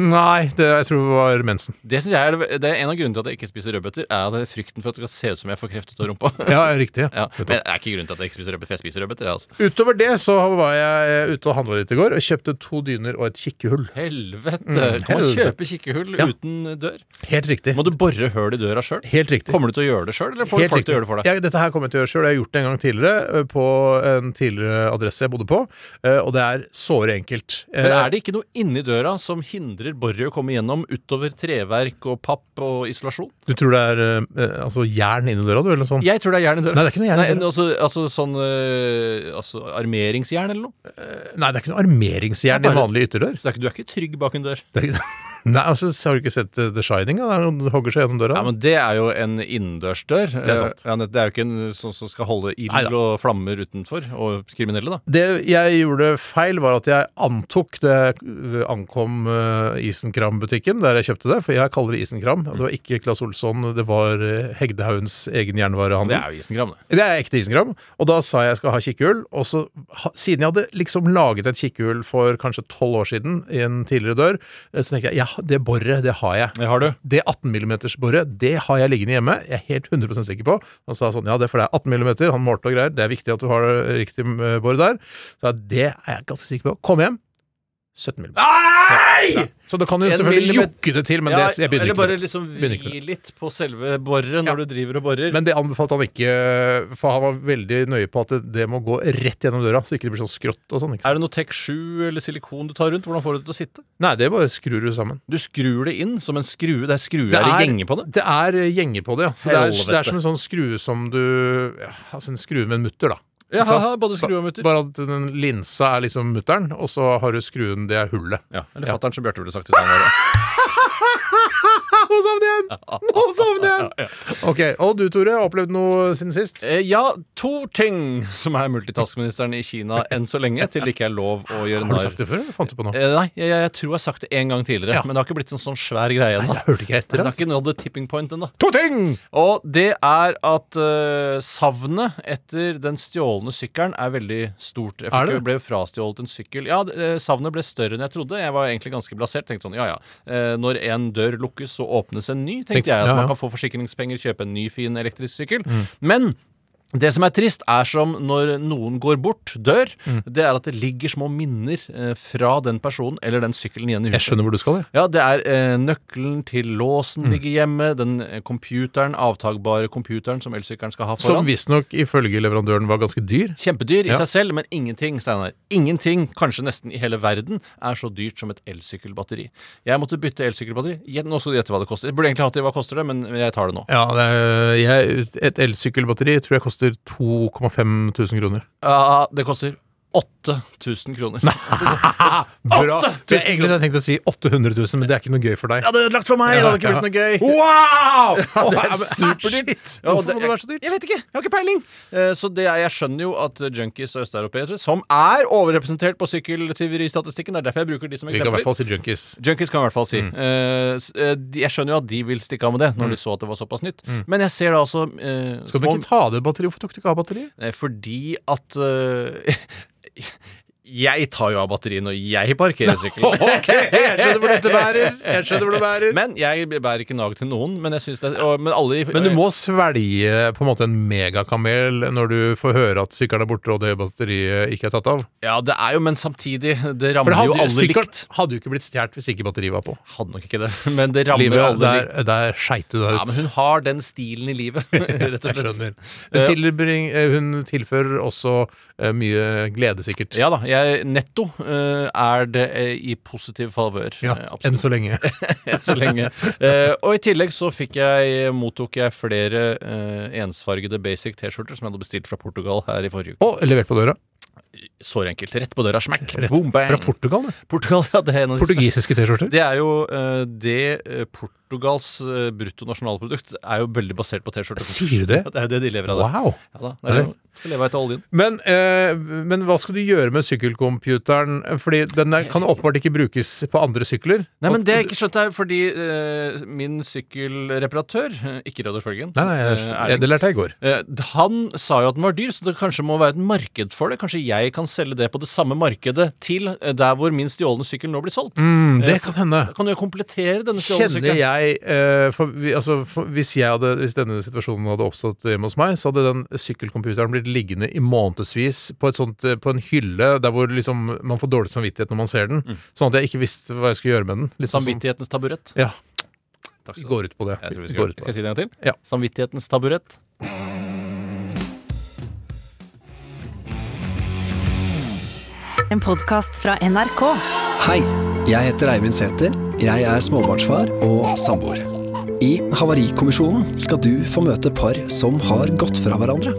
Nei, det, jeg tror det var mensen.
det synes jeg er, det- det er en av grunnene til at jeg ikke spiser rødbeter, er at det er frykten for at det skal se ut som jeg får kreft ut av rumpa.
Ja, riktig.
Ja, men det er ikke grunnen til at jeg ikke spiser rødbeter, for jeg spiser rødbeter. jeg, Altså.
Utover det så var jeg eh, ute og handla litt i går, og kjøpte to dyner og et kikkehull.
Helvete!
Mm,
kan man
helvete.
kjøpe kikkehull
Ja.
uten dør?
Helt riktig.
Må du bore høl i døra sjøl?
Helt riktig.
Kommer du til å gjøre det sjøl, eller får du
Helt
folk
riktig.
til å gjøre det for deg?
Jeg, dette her kommer jeg til å gjøre sjøl. Jeg har gjort det en gang tidligere eh, på en tidligere adresse jeg bodde på, eh, og det er såre enkelt. Eh,
Men er det ikke noe inni døra som hindrer boret å komme gjennom utover treverk og papp og isolasjon?
Du tror det er eh, altså jern inni døra, du, eller sånn?
Jeg tror det er jern i døra.
Nei, det er ikke noe jern i
Nei,
døra.
altså, altså sånn eh, altså, armeringsjern eller noe.
Nei, det er ikke noe armeringsjern i en
Bare-
vanlig ytterdør.
Så det er ikke, du er ikke trygg bak en dør.
Det er ikke... Nei, altså, Har du ikke sett eh, The Shining? da? Der hun hogger seg gjennom døra.
Ja, men Det er jo en innendørsdør. Det
er sant.
Ja, det er jo ikke en sånn som skal holde ild
Neida.
og flammer utenfor, og kriminelle, da.
Det jeg gjorde feil, var at jeg antok det jeg ankom eh, Isenkram-butikken der jeg kjøpte det, for jeg kaller det Isenkram. og Det var ikke Claes Olsson, det var eh, Hegdehaugens egen
Det
jernvarehandel.
er jo Isenkram, det.
Det er ekte isenkram, og da sa jeg jeg skal ha kikkehull. Og så, ha, siden jeg hadde liksom laget et kikkehull for kanskje tolv år siden i en tidligere dør, eh, så tenker jeg ja, det boret, det har jeg.
Det har du.
Det 18 mm-boret, det har jeg liggende hjemme. Jeg er helt 100 sikker på. Han sa sånn, ja, det er for det er 18 mm, han målte og greier. Det er viktig at du har det riktig eh, bor der. Så jeg, det er jeg ganske sikker på. Kom hjem. 17 mm.
Nei!
Så da kan du
En
selvfølgelig
millimeter-
jokke det til, men
Ja,
det, jeg begynner ikke
eller
med
bare
det.
liksom
Begynner ikke med
hvi litt på selve boret når
Ja.
du driver og borer.
Men det anbefalte han ikke, for han var veldig nøye på at det, det må gå rett gjennom døra, så ikke det blir sånn skrått og sånn. Ikke? sant?
er det noe Tech 7 eller silikon du tar rundt? Hvordan får du det til å sitte?
Nei, det bare skrur du sammen.
Du skrur det inn som en skrue. Det er skruer i gjenger på det.
Det er eh, gjenger på det, ja. Så det er, det
Helvete.
er som en sånn skrue som du ja, Altså en skrue med en mutter, da.
Ja,
Ikke sant?
haha, både skrue og mutter.
Bare at den linsa er liksom mutteren, og så har du skruen, det er hullet.
Ja, eller fatter'n, som Bjarte ville sagt. Hvis han var det.
Nå savner jeg den! Nå savner jeg den! Ok, Og du, Tore, har opplevd noe siden sist?
Eh, ja, to ting som er multitaskministeren i Kina enn så lenge, til det ikke er lov å gjøre
Har du
narr.
sagt det før? eller Fant du på nå?
Eh, nei, jeg, jeg tror jeg har sagt det en gang tidligere,
Ja.
men det har ikke blitt en sånn svær greie ennå.
jeg hørte ikke etter
Det har
den.
ikke nådd the tipping point ennå.
To ting!
Og det er at eh, savnet etter den stjålne sykkelen er veldig stort. Jeg
Er
fikk,
det?
ble frastjålet en sykkel. Ja, det- eh, savnet ble større enn jeg trodde. Jeg var egentlig ganske blasert. Tenkte sånn, ja ja, eh, når en dør lukkes, så åpnes en ny. Tenkte
Tenkte-
jeg at
ja, Mm. ja.
man kan få forsikringspenger, kjøpe en ny fin elektrisk sykkel. Men det som er trist, er som når noen går bort, dør,
Mm.
det er at det ligger små minner eh, fra den personen eller den sykkelen igjen i
Jeg
huset.
skjønner hvor du skal, jeg.
Ja, det er eh, nøkkelen til låsen
Mm.
ligger hjemme, den eh, computeren, avtagbare computeren som elsykkelen skal ha
Som
foran.
visstnok ifølge leverandøren var ganske dyr.
Kjempedyr i
Ja.
seg selv, men ingenting, Steinar. Ingenting, kanskje nesten i hele verden, er så dyrt som et elsykkelbatteri. Jeg måtte bytte elsykkelbatteri. Gjett- Nå skal du gjette hva det koster. Jeg burde egentlig hatt det, hva koster det, men jeg tar det nå.
Ja, det er, jeg, Et elsykkelbatteri tror jeg koster 2500 kroner.
Ja, det koster 8000 kroner.
Bra! Det er egentlig det jeg tenkte å si 800 000, men det er ikke noe gøy for deg.
Det hadde ødelagt for meg! Det hadde ikke blitt noe gøy.
Wow!
det
Å,
er
men-
superdyrt.
Shit.
Ja, og
Hvorfor må det være så dyrt?
Jeg vet ikke, jeg har ikke peiling. Eh, Så det er, jeg skjønner jo at junkies og østeuropeere, som er overrepresentert på sykkeltyveristatistikken, det er derfor jeg bruker de som
Vi kan i hvert
eksempler.
fall Mm. si junkies.
Junkies kan jeg i hvert fall si. Eh, s- eh, de- Jeg skjønner jo at de vil stikke av med det, når de så at det var såpass nytt. Men jeg ser da altså eh,
Mm. Skal vi
små-
ikke ta det batteriet? Hvorfor tok du ikke av batteriet?
Eh, Fordi at eh, Jeg tar jo av batteriet når jeg parkerer sykkelen.
Ok, jeg skjønner hvor dette bærer. Jeg skjønner hvor det bærer.
Men jeg bærer ikke nag til noen. Men, jeg synes det, og, men alle i-
Men du må svelge på en måte en megakamel når du får høre at sykkelen er borte og det batteriet ikke er tatt av.
Ja, det er jo, men samtidig Det
For
rammer
det
jo
hadde,
alle
sykkelen
likt.
hadde jo ikke blitt stjålet hvis ikke batteriet var på.
Hadde nok ikke det, men det rammer jo
Livet,
alle
der
likt.
der skeit du deg
Ja, men
ut.
hun har den stilen i livet, rett og
Jeg
slett.
skjønner. Hun, tilbring, eh, hun tilfører også eh, mye glede, sikkert.
Ja da, jeg jeg netto eh, er det eh, i positiv favør.
Ja,
Eh,
enn
absolutt.
så lenge.
Enn så lenge. Eh, og i tillegg så fikk jeg, mottok jeg flere eh, ensfargede basic T-skjorter som jeg hadde bestilt fra Portugal her i forrige uke.
Og levert på døra.
Sår enkelt. Rett på døra. Smekk.
Rett
Boom, bang.
Fra Portugal, det.
Portugal, ja, det er en av de største-
Portugisiske T-skjorter.
Det er jo eh, det eh, Portugals eh, bruttonasjonalprodukt er jo veldig basert på T-skjorter.
Sier du det?
Ja, Det er jo det de lever av. der.
Wow.
Ja, da, det er jo, skal leve av etter oljen.
Men, eh, men hva skal du gjøre med sykkelcomputeren? Fordi den der kan åpenbart ikke brukes på andre sykler.
Nei, men det jeg ikke skjønte, er fordi eh, min sykkelreparatør, eh, ikke Radio Følgen
Nei, nei, jeg,
eh,
jeg,
Erling,
det lærte jeg i går.
eh, han sa jo at den var dyr, så det kanskje må være et marked for det. Kanskje jeg kan selge det på det samme markedet til eh, der hvor min stjålne sykkel nå blir solgt.
det kan hende.
Da kan du jo komplettere denne
Kjenner
stjålne sykkelen.
jeg eh, for, vi- altså, for, hvis, jeg hadde, hvis denne situasjonen hadde oppstått hjemme hos meg, så hadde den sykkelcomputeren blitt liggende i månedsvis på, et sånt, eh, på en hylle der hvor liksom, man får dårlig samvittighet når man ser den.
Mm.
Sånn at jeg ikke visste hva jeg skulle gjøre med den.
liksom
Litt sånn som-
Samvittighetens taburett.
Ja,
Takk
vi
skal du ha.
går ut på det.
Jeg tror vi
Vi
skal,
går ut på
skal jeg
det.
si det en gang til?
Ja.
Samvittighetens taburett.
En podkast fra NRK.
Hei, jeg heter Eivind Sæther. Jeg er småbarnsfar og samboer. I Havarikommisjonen skal du få møte par som har gått fra hverandre.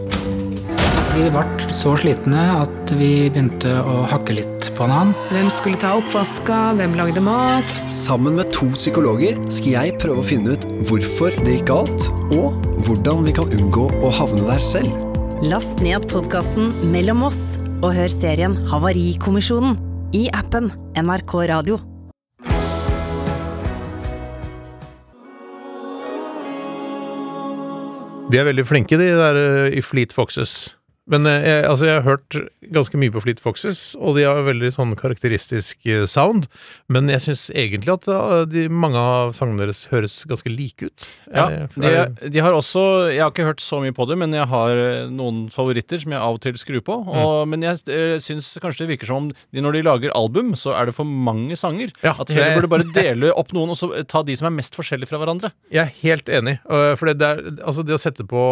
Vi ble så slitne at vi begynte å hakke litt på hverandre.
Hvem skulle ta oppvaska? Hvem lagde mat?
Sammen med to psykologer skal jeg prøve å finne ut hvorfor det gikk galt, og hvordan vi kan unngå å havne der selv.
Last ned podkasten Mellom oss og hør serien Havarikommisjonen i appen NRK Radio.
De er veldig flinke, de der eh, i Fleet Foxes. Men eh, jeg, altså, jeg har hørt ganske mye på Fleet Foxes, og de har jo veldig sånn karakteristisk eh, sound. Men jeg syns egentlig at eh, de, mange av sangene deres høres ganske like ut.
Ja,
Er det-
de,
er det-
de har også Jeg har ikke hørt så mye på det, men jeg har eh, noen favoritter som jeg av og til skrur på. Og,
Mm.
Men jeg eh, syns kanskje det virker som om de, når de lager album, så er det for mange sanger.
Ja,
at de
det-
heller burde bare dele opp noen, og så eh, ta de som er mest forskjellige fra hverandre.
Jeg er helt enig. øh, For det, det, er, altså det å sette på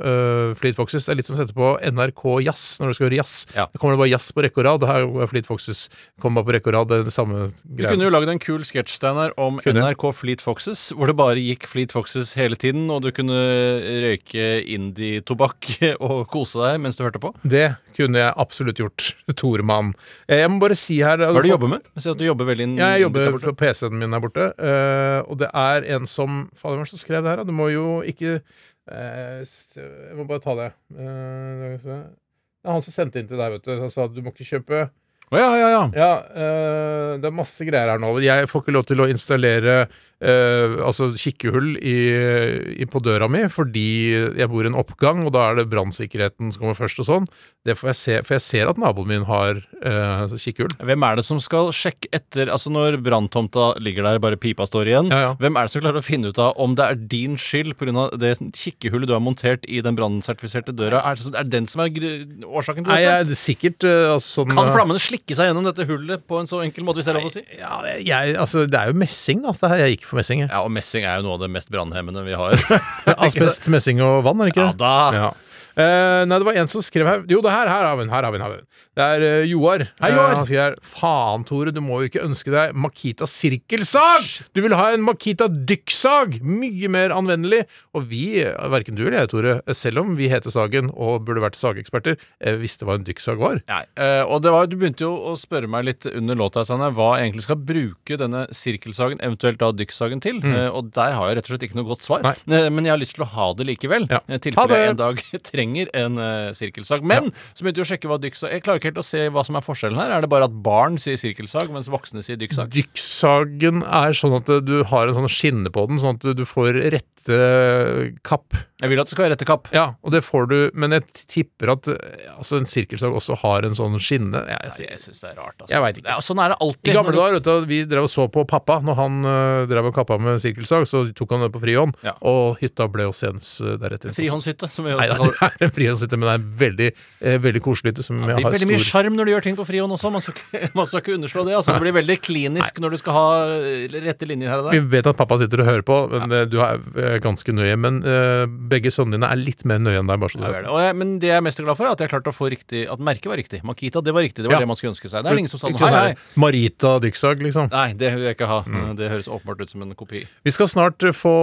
øh, Fleet Foxes Det er litt som å sette på NRK Jazz når du skal høre jazz.
Ja.
Da kommer det bare jazz på rekke og rad. Her er Fleet Foxes kommer bare på rekke og rad. Det er det samme
Du kunne
greia.
jo lagd en kul sketsj Steinar, om
Kunne.
NRK Fleet Foxes, hvor det bare gikk Fleet Foxes hele tiden, og du kunne eh, røyke indie-tobakk og kose deg mens du hørte på.
Det kunne jeg absolutt gjort. Toremann. Eh, Jeg må bare si her
Hva er det du jobber med? Jeg ser at du jobber veldig inn-
Jeg
der
jobber
borte.
på PC-en min her borte, øh, og det er en som Fader, hvem var det som skrev det her? da? Du må jo ikke eh, s- Jeg må bare ta det. Eh, det er han som sendte inn til deg, vet du. Han sa at du må ikke kjøpe
Å, ja, ja, ja.
Ja, øh, det er masse greier her nå. Jeg får ikke lov til å installere øh, altså kikkehull i, i, på døra mi fordi jeg bor i en oppgang, og da er det brannsikkerheten som kommer først og sånn. Det får jeg se, for jeg ser at naboen min har øh, kikkehull.
Hvem er det som skal sjekke etter Altså Når branntomta ligger der, bare pipa står igjen,
Ja, ja.
hvem er det som klarer å finne ut av om det er din skyld pga. det kikkehullet du har montert i den brannsertifiserte døra? Er det, er det den som er gr- årsaken til
Nei,
dette?
jeg, det er sikkert øh, altså, sånn
Kan
øh,
flammene slikke seg gjennom dette hullet på en så enkel måte, hvis det er lov å si?
Ja, jeg, altså, det er jo messing, da. Det her, jeg gikk for messing. Jeg.
Ja, og messing er jo noe av det mest brannhemmende vi har.
Asbest, messing og vann, er det ikke
ja
det?
da.
Ja. Eh, nei, det var en som skrev her Jo, det her, her har vi den. Her har vi den, her har vi den. Det er eh, Joar.
Hei, Joar.
Eh, han sier her Faen, Tore, du må jo ikke ønske deg Makita sirkelsag! Du vil ha en Makita dykksag! Mye mer anvendelig. Og vi, verken du eller jeg, Tore, eh, selv om vi heter Sagen og burde vært sageksperter, eh, visste hva en dykksag var.
Nei, eh, og det var, Du begynte jo å spørre meg litt under låta Steinar, hva jeg egentlig skal bruke denne sirkelsagen, eventuelt da dykksagen, til. Eh, og der har jeg rett og slett ikke noe godt svar.
Mm. Nei.
Eh, men jeg har lyst til å ha det likevel.
Ja.
I
Ha
tilfelle
det!
jeg en dag trenger en eh, sirkelsag. Men så begynte jeg å sjekke hva dykksag Jeg klarer ikke helt å se hva som er forskjellen her. Er det bare at barn sier sirkelsag, mens voksne sier dykksag?
Dykksagen er sånn at eh, du har en sånn skinne på den, sånn at du får rette kapp.
Jeg vil at det skal være rette kapp.
Ja, og det får du, men jeg tipper at eh, altså, en sirkelsag også har en sånn skinne. Jeg, jeg,
Nei, jeg syns det er rart, altså.
Jeg vet ikke.
Ja, sånn er det alltid.
I gamle
Når du-
dager, vet du, vi drev og så på pappa. Når han eh, drev og kappa med sirkelsag, så tok han det på frihånd,
Ja.
og hytta ble hos Jens eh, deretter.
Frihåndshytte, som vi
Nei, ja,
også kaller
det er en frihåndshytte, men det er en veldig, eh, veldig koselig hytte. Som
Det
jeg
blir
har
veldig mye
stor
sjarm når du gjør ting på frihånd også. Man skal ikke, man skal ikke underslå det. Altså, det blir veldig klinisk når du skal ha eh, rette linjer her og
Vi
der.
vet at pappa sitter og hører på, men eh, du er eh, ganske nøye. Men eh, begge sønnene dine er litt mer nøye enn deg. Bare så du
Ja, vi
vet.
er
det.
det. Og jeg, men det jeg er mest glad for, er at jeg klarte å få riktig At merket var riktig. Makita, det var riktig. Det var
Ja.
det man skulle ønske seg. Det er ingen som sa
Ikke
hei,
sånn
hei.
her, Marita Dyksag, liksom.
Nei, det vil jeg ikke ha.
Mm.
Det høres åpenbart ut som en kopi.
Vi skal snart eh, få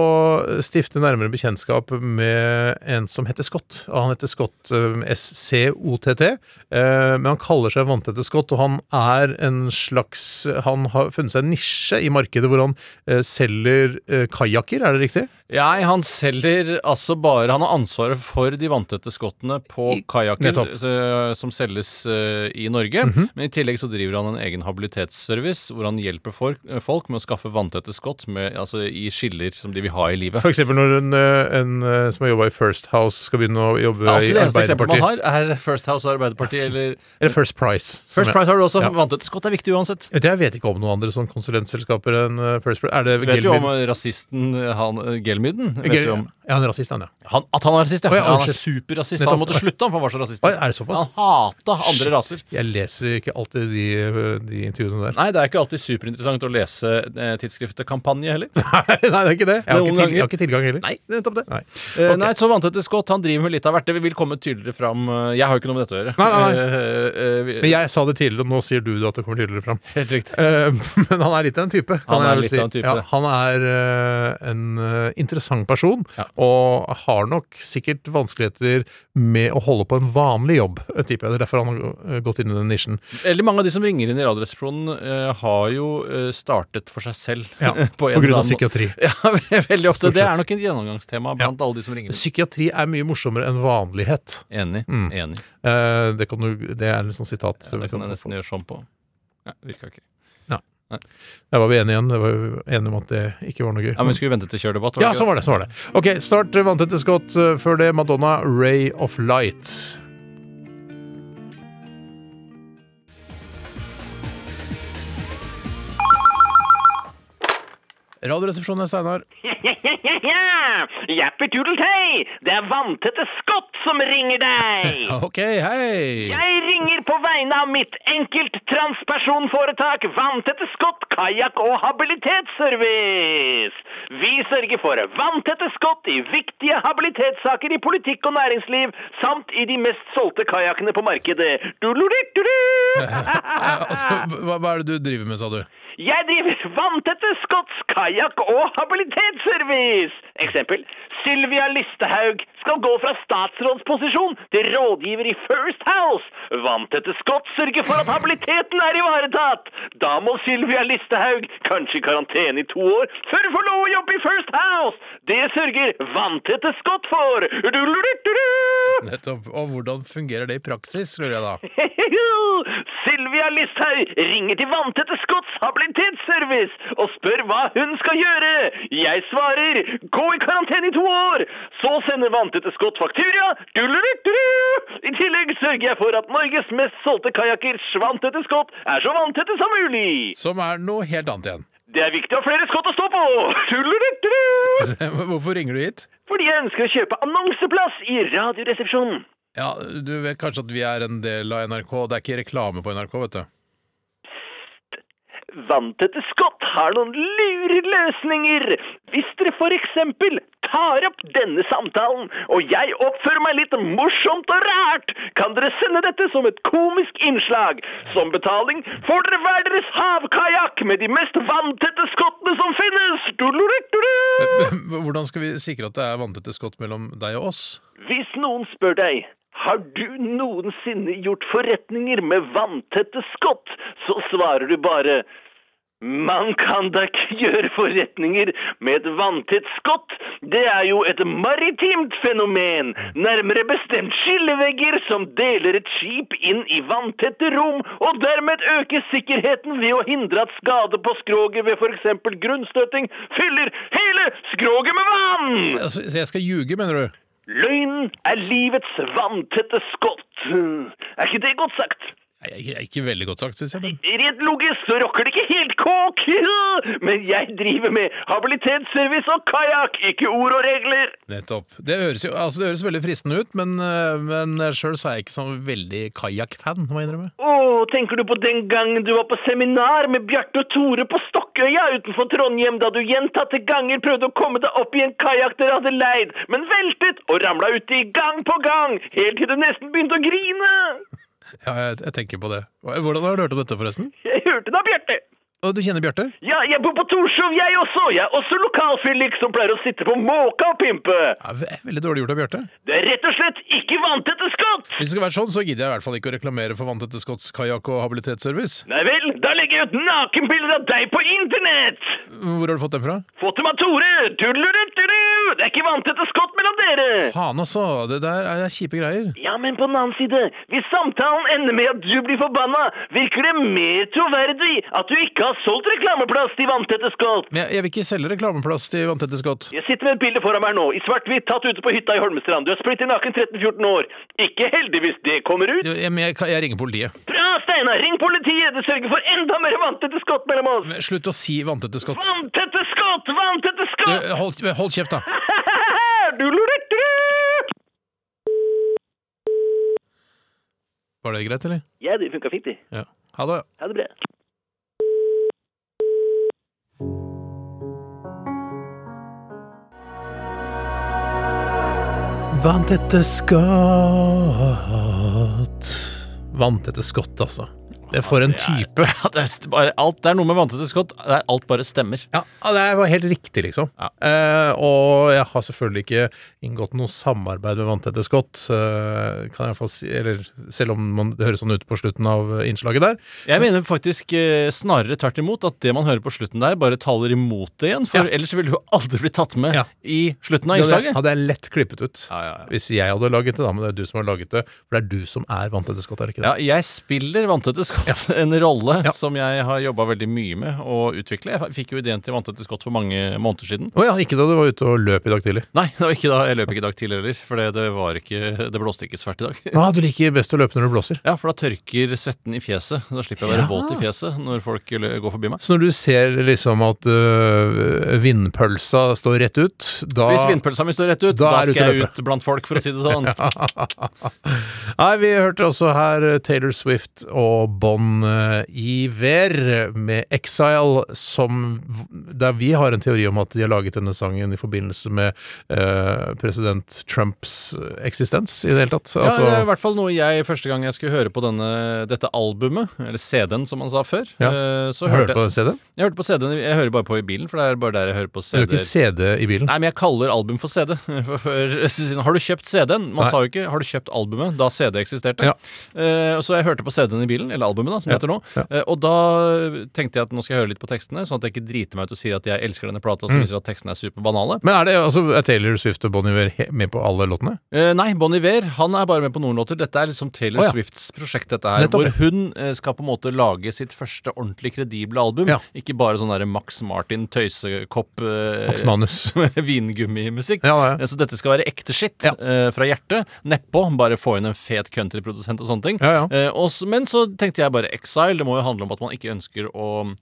stifte nærmere bekjentskap med en som heter Scott. Og han heter Scott eh, S-C-O-T-T, eh, men han kaller seg Vanntette Scott, og han er en slags Han har funnet seg en nisje i markedet hvor han eh, selger eh, kajakker, er det riktig?
Nei, han selger altså bare Han har ansvaret for de vanntette skottene på kajakker
nettopp.
eh, som selges eh, i Norge. Men i tillegg så driver han en egen habilitetsservice hvor han hjelper folk, eh, folk med å skaffe vanntette skott med, altså, i skiller som de vil ha i livet.
For eksempel når en, eh, en eh, som har jobba i First House, skal begynne å jobbe
Alltid
i
det eneste eksempelet man
Arbeiderpartiet.
har, er First House og Arbeiderpartiet. Eller
Eller First Price. som
First
jeg-
Price har du også.
Ja.
Vanntette skott er viktig uansett.
Vet du, Jeg vet ikke om noen andre sånne konsulentselskaper enn eh, First Price. Er det
Vet du om
Gelmyden?
eh, rasisten eh, han, eh, Gelmyden? Vet
Gel-
du om
Ja, han er rasist, han, ja.
han, At han er rasist, ja.
Å, ja,
han er
unnskyld.
superrasist.
Nettopp.
Han måtte slutte, han, for han var så
Oi,
rasistisk.
er det såpass?
Han hata andre raser.
Jeg leser ikke alltid de, de intervjuene der.
Nei, det er ikke alltid superinteressant å lese eh, tidsskriftet Kampanje heller.
Nei, det er ikke det. Jeg har
Noen
ikke, til, jeg
ganger.
har ikke tilgang heller.
Nei, nettopp det.
Nei.
Eh,
Ok.
Nei, så vanntette Scott han driver med litt av hvert. Det vil komme tydeligere fram. eh, Jeg har jo ikke noe med dette å gjøre.
Nei, nei, nei.
Eh, eh, vi-
Men jeg sa det tidligere, og nå sier du det at det kommer tydeligere fram.
Helt riktig.
Eh, Men han er litt av en type. Kan
Han er
jeg vel
litt
si.
av en type.
Ja, han er eh, en eh, interessant person, og har nok sikkert vanskeligheter med å holde på en vanlig jobb, eh, tipper jeg. Det er derfor han har eh, gått inn i den nisjen.
Eller mange av de som ringer inn i Radioresepsjonen, eh, har jo eh, startet for seg selv.
Ja,
eh,
på
en eller
grunn av
annen må-
psykiatri.
Ja, ve- veldig ofte.
Stort
Det
sett.
er nok et gjennomgangstema blant alle de som ringer. inn.
Psykiatri er mye morsommere enn vanlighet.
Enig. enig.
Eh, Det, kan du, det er en sånn sitat. som Mm. vi
Det kan jeg
kan
nesten gjøre sånn på. Nei, virka ikke.
Der var vi enige igjen. Det var vi enige om at det ikke var noe gøy.
Ja, men Vi skulle vente til kjørdebatt. var det
Ja,
ikke
sånn var det. sånn var det Ok, Start eh, vanntette skott. eh, Før det Madonna, 'Ray of Light'. Radioresepsjonen er Steinar.
Ja, jappetudeltei! Det er vanntette Scott som ringer deg!
Ok, hei!
Jeg ringer på vegne av mitt enkelttranspersonforetak Vanntette Scott kajakk- og habilitetsservice. Vi sørger for vanntette skott i viktige habilitetssaker i politikk og næringsliv, samt i de mest solgte kajakkene på markedet.
Eh, Altså,
Du-lu-lu-du-du!
hva, hva er det du driver med, sa du?
Jeg driver vanntette skotts kajakk- og habilitetsservice! Eksempel. Sylvia Listehaug skal gå fra statsrådsposisjon til rådgiver i First House. Vanntette skott sørger for at habiliteten er ivaretatt. Da må Sylvia Listehaug kanskje i karantene i to år før hun får lov å jobbe i First House. Det sørger vanntette skott for. Du-du-du-du-du!
Nettopp. Og hvordan fungerer det i praksis, lurer jeg da?
Sylvia Listhaug ringer til vanntette Skotts habilitetsservice og spør hva hun skal gjøre. Jeg svarer gå i karantene i to år. Så sender vanntette Skott faktura. Dululutulu. I tillegg sørger jeg for at Norges mest solgte kajakker, Svantete Skott, er så vanntette som mulig.
Som er noe helt annet igjen.
Det er viktig å ha flere skott å stå på. Dululutulu.
Hvorfor ringer du hit?
Fordi jeg ønsker å kjøpe annonseplass i Radioresepsjonen.
Ja, Du vet kanskje at vi er en del av NRK. Det er ikke reklame på NRK, vet du.
Vanntette Scott har noen lure løsninger. Hvis dere for eksempel tar opp denne samtalen, og jeg oppfører meg litt morsomt og rart, kan dere sende dette som et komisk innslag. Som betaling får dere hver deres havkajakk med de mest vanntette skottene som finnes. Dululutulu.
Hvordan skal vi sikre at det er vanntette skott mellom deg og oss?
Hvis noen spør deg har du noensinne gjort forretninger med vanntette skott, så svarer du bare man kan da ikke gjøre forretninger med et vanntett skott. Det er jo et maritimt fenomen, nærmere bestemt skillevegger som deler et skip inn i vanntette rom, og dermed øker sikkerheten ved å hindre at skade på skroget ved f.eks. grunnstøting fyller hele skroget med vann!
Altså, så jeg skal ljuge, mener du?
Løgnen er livets vanntette skott. Er ikke det godt sagt?
Nei, Ikke, ikke veldig godt sagt, syns jeg. Men.
Rent logisk så rocker det ikke helt kåk, men jeg driver med habilitetsservice og kajakk, ikke ord og regler.
Nettopp. Det høres jo altså, det høres veldig fristende ut, men, eh, men sjøl er jeg ikke sånn veldig kajakkfan, må jeg innrømme.
Å, tenker du på den gangen du var på seminar med Bjarte og Tore på Stokkøya utenfor Trondheim, da du gjentatte ganger prøvde å komme deg opp i en kajakk dere hadde leid, men veltet og ramla uti gang på gang, helt til du nesten begynte å grine?
Ja, jeg, jeg tenker på det. Hvordan har du hørt om dette, forresten?
Jeg hørte da, Bjarte.
Og du kjenner Bjarte?
Ja, jeg bor på Torshov, jeg også. Jeg er også lokalfyllik som pleier å sitte på måka og pimpe.
Ja, ve- veldig dårlig gjort av Bjarte.
Det er rett og slett ikke vanntette skott!
Hvis det skal være sånn, så gidder jeg i hvert fall ikke å reklamere for vanntette Skotts kajakk og habilitetsservice.
Nei vel, da legger jeg ut nakenbilder av deg på internett!
Hvor har du fått den fra?
Fått dem av Tore! Tudelurutturu! Det er ikke vanntette skott mellom dere!
Faen også, det der er, det er kjipe greier.
Ja, men på den annen side, hvis samtalen ender med at du blir forbanna, virker det mer troverdig at du ikke har solgt reklameplass til vanntette skott.
Men jeg, jeg vil ikke selge reklameplass til vanntette Skott.
Jeg sitter med et bilde foran meg nå, i svart-hvitt, tatt ute på hytta i Holmestrand. Du er splitter naken 13-14 år. Ikke heldig hvis det kommer ut.
Jeg, men jeg, kan- jeg ringer politiet.
Bra, Steinar! Ring politiet! Det sørger for enda mer vanntette skott mellom oss!
Men Slutt å si vanntette Skott.
Vanntette skott! Vanntette
Du,
skott!
hold, hold kjeft, da.
Du lurte!
Var det greit, eller?
Ja, det funka fint, det.
Ja. Ha det.
Ha det bra.
Vanntette Skott. Vanntette Skott, altså. Det er for en type.
Ja, det, er st- bare, alt, det er noe med vanntette skott. det er Alt bare stemmer.
Ja, det var helt riktig, liksom.
Ja.
Eh, og jeg har selvfølgelig ikke inngått noe samarbeid med Vanntette Skott, eh, kan jeg iallfall si, eller selv om man, det høres sånn ut på slutten av innslaget der.
Jeg mener faktisk eh, snarere tvert imot at det man hører på slutten der, bare taler imot det igjen. For
Ja.
ellers ville du jo aldri blitt tatt med
Ja.
i slutten av
Det hadde, jeg-
innslaget.
hadde jeg lett klippet ut.
Ja, ja, ja.
Hvis jeg hadde laget det, da, men det er du som har laget det. For det er du som er Vanntette Skott, er det ikke det?
Ja, jeg spiller Vanntette Skott, en rolle
Ja.
som jeg har jobba veldig mye med å utvikle. Jeg fikk jo ideen til Vanntette Skott for mange måneder siden.
Å ja, ikke da du var ute og løp i dag tidlig.
Nei, det var ikke da, jeg løp ikke i dag tidlig heller, for det, det, var ikke, det blåste ikke svært i dag.
Ja, Ah, du liker best å løpe når det blåser.
Ja, for da tørker svetten i fjeset. Da slipper jeg å være våt i fjeset når folk lø- går forbi meg.
Så når du ser liksom at øh, vindpølsa står rett ut, da
Hvis vindpølsa mi står rett ut, da,
Da er du
skal
til
jeg
løpet.
ut blant folk, for å si det sånn.
Nei, vi hørte også her eh, Taylor Swift og Bon eh, Iver med 'Exile', som Der vi har en teori om at de har laget denne sangen i forbindelse med eh, president Trumps eh, eksistens i det hele tatt. Altså,
ja, det er i hvert fall noe jeg første gang jeg skulle høre på denne, dette albumet, eller CD-en som man sa før,
Ja.
eh, så
Hørte
hørte
du på
jeg,
den CD-en?
jeg hørte på CD-en, jeg hører bare på i bilen, for det er bare der jeg hører på
Du har ikke
CD-er.
CD i bilen?
Nei, men jeg kaller album for CD. For, for, siden, har du kjøpt CD-en? Man
Nei.
sa jo ikke 'har du kjøpt albumet' da CD eksisterte.
Ja.
Eh, så jeg hørte på CD-en i bilen, eller albumet, da, som det heter nå. Eh, og da tenkte jeg at nå skal jeg høre litt på tekstene, sånn at jeg ikke driter meg ut og sier at jeg elsker denne plata,
Mm.
som viser at tekstene er superbanale.
Men er, det, altså, er Taylor Swift og Bon Iver he- med på alle låtene?
Eh, nei, Bon Iver han er bare med på noen låter. Dette er liksom Taylor
Å, ja.
Swifts prosjekt, dette her.
Nettopp.
Hvor hun eh, skal på en måte lage sitt første ordentlig kredible album.
Ja.
Ikke bare sånn der Max Martin tøysekopp eh,
Max Manus.
Vingummimusikk.
Ja, det er.
Eh, Så dette skal være ekte shit
Ja.
eh, fra hjertet. Nedpå. Bare få inn en fet countryprodusent og sånne ting.
Ja, ja.
Eh, og s- men så tenkte jeg bare Exile. Det må jo handle om at man ikke ønsker å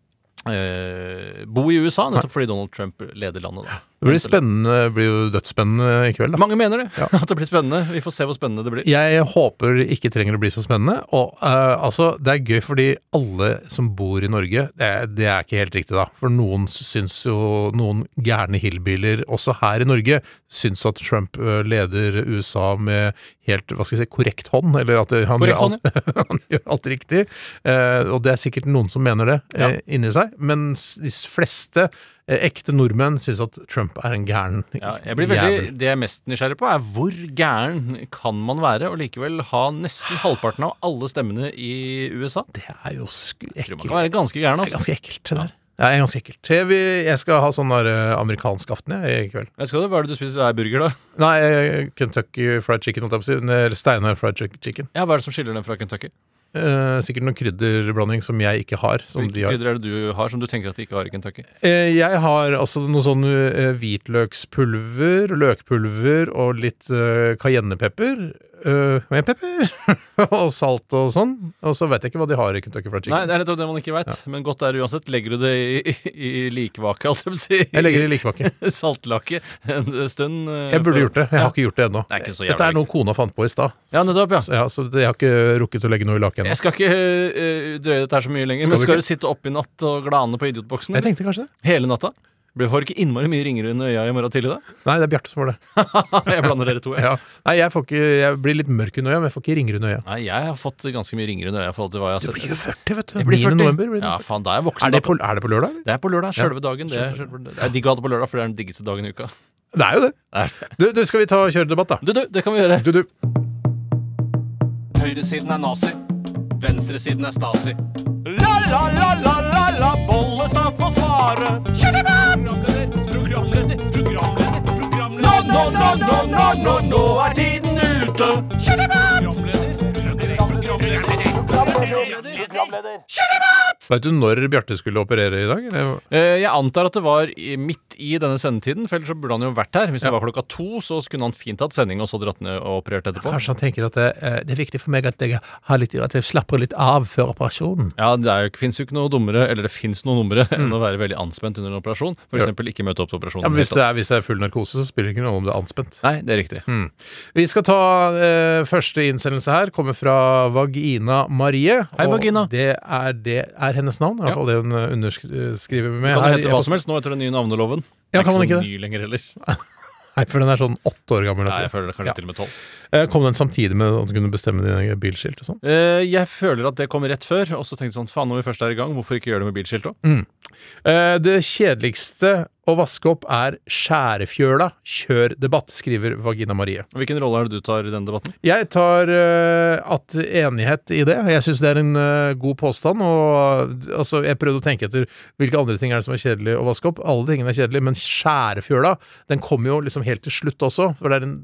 eh, bo i USA, nettopp fordi Donald Trump leder landet. da
Det blir spennende, det blir jo dødsspennende i kveld. da.
Mange mener det. At det blir spennende. Vi får se hvor spennende det blir.
Jeg håper det ikke trenger å bli så spennende. Og eh, altså, det er gøy fordi alle som bor i Norge Det, er- det er ikke helt riktig, da. For noen syns jo Noen gærne hillbiler, også her i Norge, syns at Trump eh, leder USA med helt hva skal jeg si, korrekt hånd. Eller at han,
Korrekt
gjør alt, han gjør alt riktig. Eh, og det er sikkert noen som mener det eh, inni seg. Mens de fleste eh, ekte nordmenn syns at Trump er en gæren
Ja, jeg blir veldig, det jeg er mest nysgjerrig på, er hvor gæren kan man være og likevel ha nesten halvparten av alle stemmene i USA?
Det er jo sku
Jeg tror man
ekkelt.
kan være ganske gæren.
Det er
Altså.
ganske ekkelt, det der. Ja, det er ganske ekkelt. Jeg, vil, jeg skal ha sånn der eh, amerikansk aften jeg, i kveld.
Jeg skal, hva er det du spiser? Det er burger, da?
Nei, eh, Kentucky fried chicken, holdt jeg på å si. Eller Steinar fried chick- chicken.
Ja, Hva er det som skiller den fra Kentucky?
Eh, sikkert noen krydderblanding som jeg ikke har. Som de
Hvilke
har.
krydder er det du har som du tenker at de ikke har i Kentucky?
Eh, jeg har altså noe sånn eh, hvitløkspulver, løkpulver og litt eh, cayennepepper. øh, med pepper og salt og sånn. Og så vet jeg ikke hva de har i Kentucky Fried
Nei,
Chicken.
det er nettopp det man ikke veit, men godt er det uansett. Legger du det i, i, i likvake, holdt jeg på å si?
jeg legger det i likepakke.
saltlake en stund. eh,
Jeg burde
før-
gjort det. Jeg har ikke gjort det ennå.
Det er ikke så jævla
Dette er noe kona fant på i stad.
Ja, nettopp, ja.
Så, ja, så jeg har ikke rukket å legge noe i laken
Jeg
ennå.
skal ikke eh, drøye dette her så mye lenger,
Skal
men
du
skal
ikke?
du sitte oppe i natt og glane på idiotboksen?
Jeg tenkte kanskje det.
Hele natta? Blir får ikke innmari mye ringer under øya i morgen tidlig, da?
Nei, det er Bjarte som får det.
jeg blander dere to. jeg.
Ja. Nei, jeg, får ikke, jeg blir litt mørk under øya, men jeg får ikke ringer under øya.
Nei, jeg har fått ganske mye ringer under øya i forhold til hva jeg har sett.
jo 40, vet du.
Jeg blir 40.
november blir det.
Ja, faen, da er jeg voksen.
er, det
da.
på, er det på lørdag? eller?
det er på lørdag. Sjølve dagen. Det er, sjølve- det er digg å ha det på lørdag, for det er den diggeste dagen i uka.
Det er jo det.
Er
Du, du, skal vi ta kjøredebatt, da?
Du, du, det kan vi gjøre.
Du, du.
Høyresiden er nazi. Venstresiden er stasi. La, la, la, la, la, la, Bollestad får svare. Programleder, programleder, programleder, programleder. Nå, nå, nå, nå, nå, nå, nå er tiden ute. Programleder, programleder, programleder, programleder.
Veit du når Bjarte skulle operere i dag? Eller?
Eh, Jeg antar at det var i- midt i denne sendetiden, for ellers så burde han jo vært her. Hvis det var klokka to, så kunne han fint hatt sending og så dratt ned og operert etterpå.
Kanskje han tenker at det, eh, det er viktig for meg at jeg, har litt, at jeg slapper litt av før operasjonen.
Ja, Det fins jo ikke noe dummere, eller det fins noe dummere, enn å være veldig anspent under en operasjon. For eksempel ikke møte opp til
Mm.
operasjonen.
Ja, men hvis
i det hele
det, er, hvis det er full narkose, så spiller det ikke noe om det er Mm. anspent.
tatt. Nei, det er riktig.
Vi skal ta eh, første innsendelse her. Kommer fra Vagina Marie.
Hei,
og
Vagina.
Det er, det er hennes navn. I
Ja.
hvert fall det hun eh, underskriver med.
Kan
her
det hete
i
hva
posten.
som helst nå etter den nye navneloven?
Ja,
det
kan
er
man
ikke
ikke
så ny lenger heller.
Nei, for den er sånn åtte år gammel.
Nei, jeg føler det kanskje til og med tolv.
Eh, Kom den samtidig med at du kunne bestemme dine bilskilt og sånn?
Eh, jeg føler at det kom rett før, og så tenkte jeg sånn faen, når vi først er i gang, hvorfor ikke gjøre det med bilskilt
Mm.
òg?
Eh, Det kjedeligste å vaske opp er skjærefjøla. Kjør debatt, skriver Vagina Marie.
Hvilken rolle er det du tar i den debatten?
Jeg tar eh, at enighet i det. Jeg syns det er en eh, god påstand. Og altså, jeg prøvde å tenke etter hvilke andre ting er det som er kjedelig å vaske opp. Alle tingene er kjedelige, men skjærefjøla den kommer jo liksom helt til slutt også. For det er den,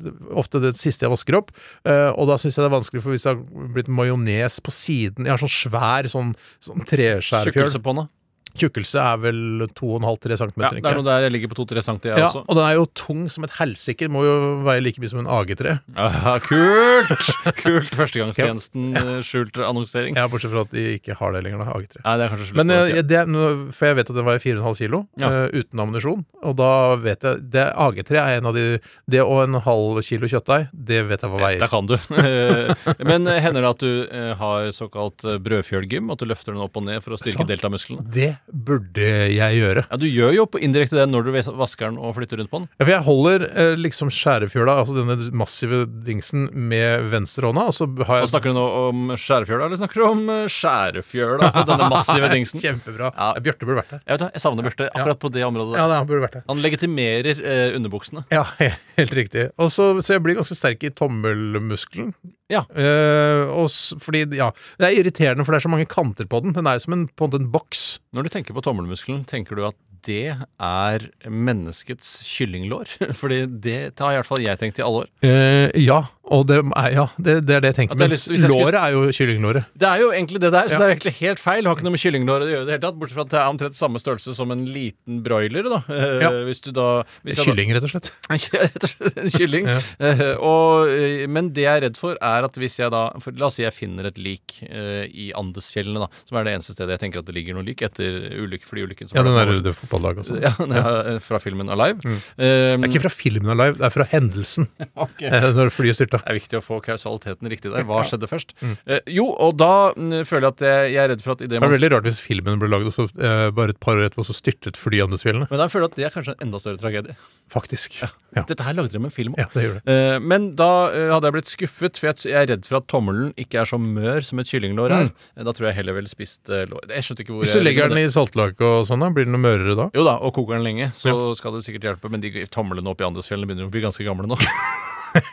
ofte det siste jeg vasker opp. Eh, og da syns jeg det er vanskelig, for hvis det har blitt majones på siden Jeg har sånn svær sånn, sånn treskjærefjøl.
Tjukkelsepånda?
Tjukkelse er vel 2,5-3 cm.
Ja, det er noe der altså. jeg ligger på to-tre cm, jeg
ja,
også.
og den er jo tung som et helsike. Må jo veie like mye som en AG3.
Aha, kult! Kult førstegangstjenesten, eh, skjult annonsering.
Ja, bortsett fra at de ikke har det lenger, da. AG3.
Nei, det er kanskje slutt
Men
på
eh,
det.
jeg- det, nå- for jeg vet at den var 4,5 kilo
Ja.
eh, uten ammunisjon. Og da vet jeg det, AG3 er en av de Det og en halv kilo kjøttdeig, det vet jeg hva
Der
veier.
kan du. Eh, Men eh, hender det at du eh, har såkalt eh, brødfjølgym? At du løfter den opp og ned for å styrke deltamusklene?
Det burde jeg gjøre.
Ja, Du gjør jo på indirekte det når du ves- vasker den og flytter rundt på den.
Ja, For jeg holder eh, liksom skjærefjøla, altså denne massive dingsen, med venstrehånda, og så har
Og
jeg
Snakker du nå om skjærefjøla, eller snakker du om eh, skjærefjøla? Denne massive dingsen. Jeg
Kjempebra.
Ja.
Bjarte burde vært der.
vet da, jeg savner Bjarte akkurat på det området
Ja,
der.
det, han burde vært der.
Han legitimerer eh, underbuksene.
Ja, he- helt riktig. Og så, så jeg blir ganske sterk i tommelmuskelen.
Ja.
Eh, og s fordi, ja, Det er irriterende, for det er så mange kanter på den. Den er jo som en, på en, måte en boks.
Når du tenker på tommelmuskelen, tenker du at det er menneskets kyllinglår? Fordi det har i hvert fall jeg tenkt i alle år.
Eh, ja, og det er, ja, det, det er det jeg tenker.
At det er
Mens
litt- hvis jeg skulle-
låret er jo kyllinglåret.
Det er jo egentlig det der, så
Ja.
det er egentlig helt feil. Det har ikke noe med kyllinglår å gjøre i det hele tatt, bortsett fra at det er omtrent samme størrelse som en liten broiler, da. Eh,
Ja.
Hvis du da hvis jeg da-
Kylling, rett og slett.
Ja, rett og slett en kylling. Eh, og, eh, men det jeg er redd for, er at hvis jeg da for La oss si jeg finner et lik eh, i Andesfjellene, da, som er det eneste stedet jeg tenker at det ligger noe lik etter ulykke, flyulykken som
Ja, den er
var for noen år
det fotballaget også.
siden. ja, den er fra filmen Alive. Eh,
Det er ikke fra filmen Alive, det er fra hendelsen. eh, Når flyet styrta.
Det er viktig å få kausaliteten riktig der. Hva skjedde først? Eh, jo, og da mm, føler jeg at jeg, jeg er redd for at i det
Det
man
var veldig rart hvis filmen ble laget, og så eh, bare et par år etterpå så styrtet flyet i Andesfjellene.
Men da føler jeg at det er kanskje en enda større tragedie.
Faktisk. Ja. Ja.
Dette her lagde de en film om.
det gjør det.
Eh, Men da eh, hadde jeg blitt skuffet, for jeg t- jeg er redd for at tommelen ikke er så mør som et kyllinglår er. Eh, Da tror jeg heller vel spist eh, lår. Jeg skjønte ikke hvor
Hvis du
jeg
legger den i saltlake og sånn, da, blir den noe mørere da?
Jo da, og koker den lenge, så skal det sikkert hjelpe. Men de tomlene oppe i Andesfjellene begynner å bli ganske gamle nå.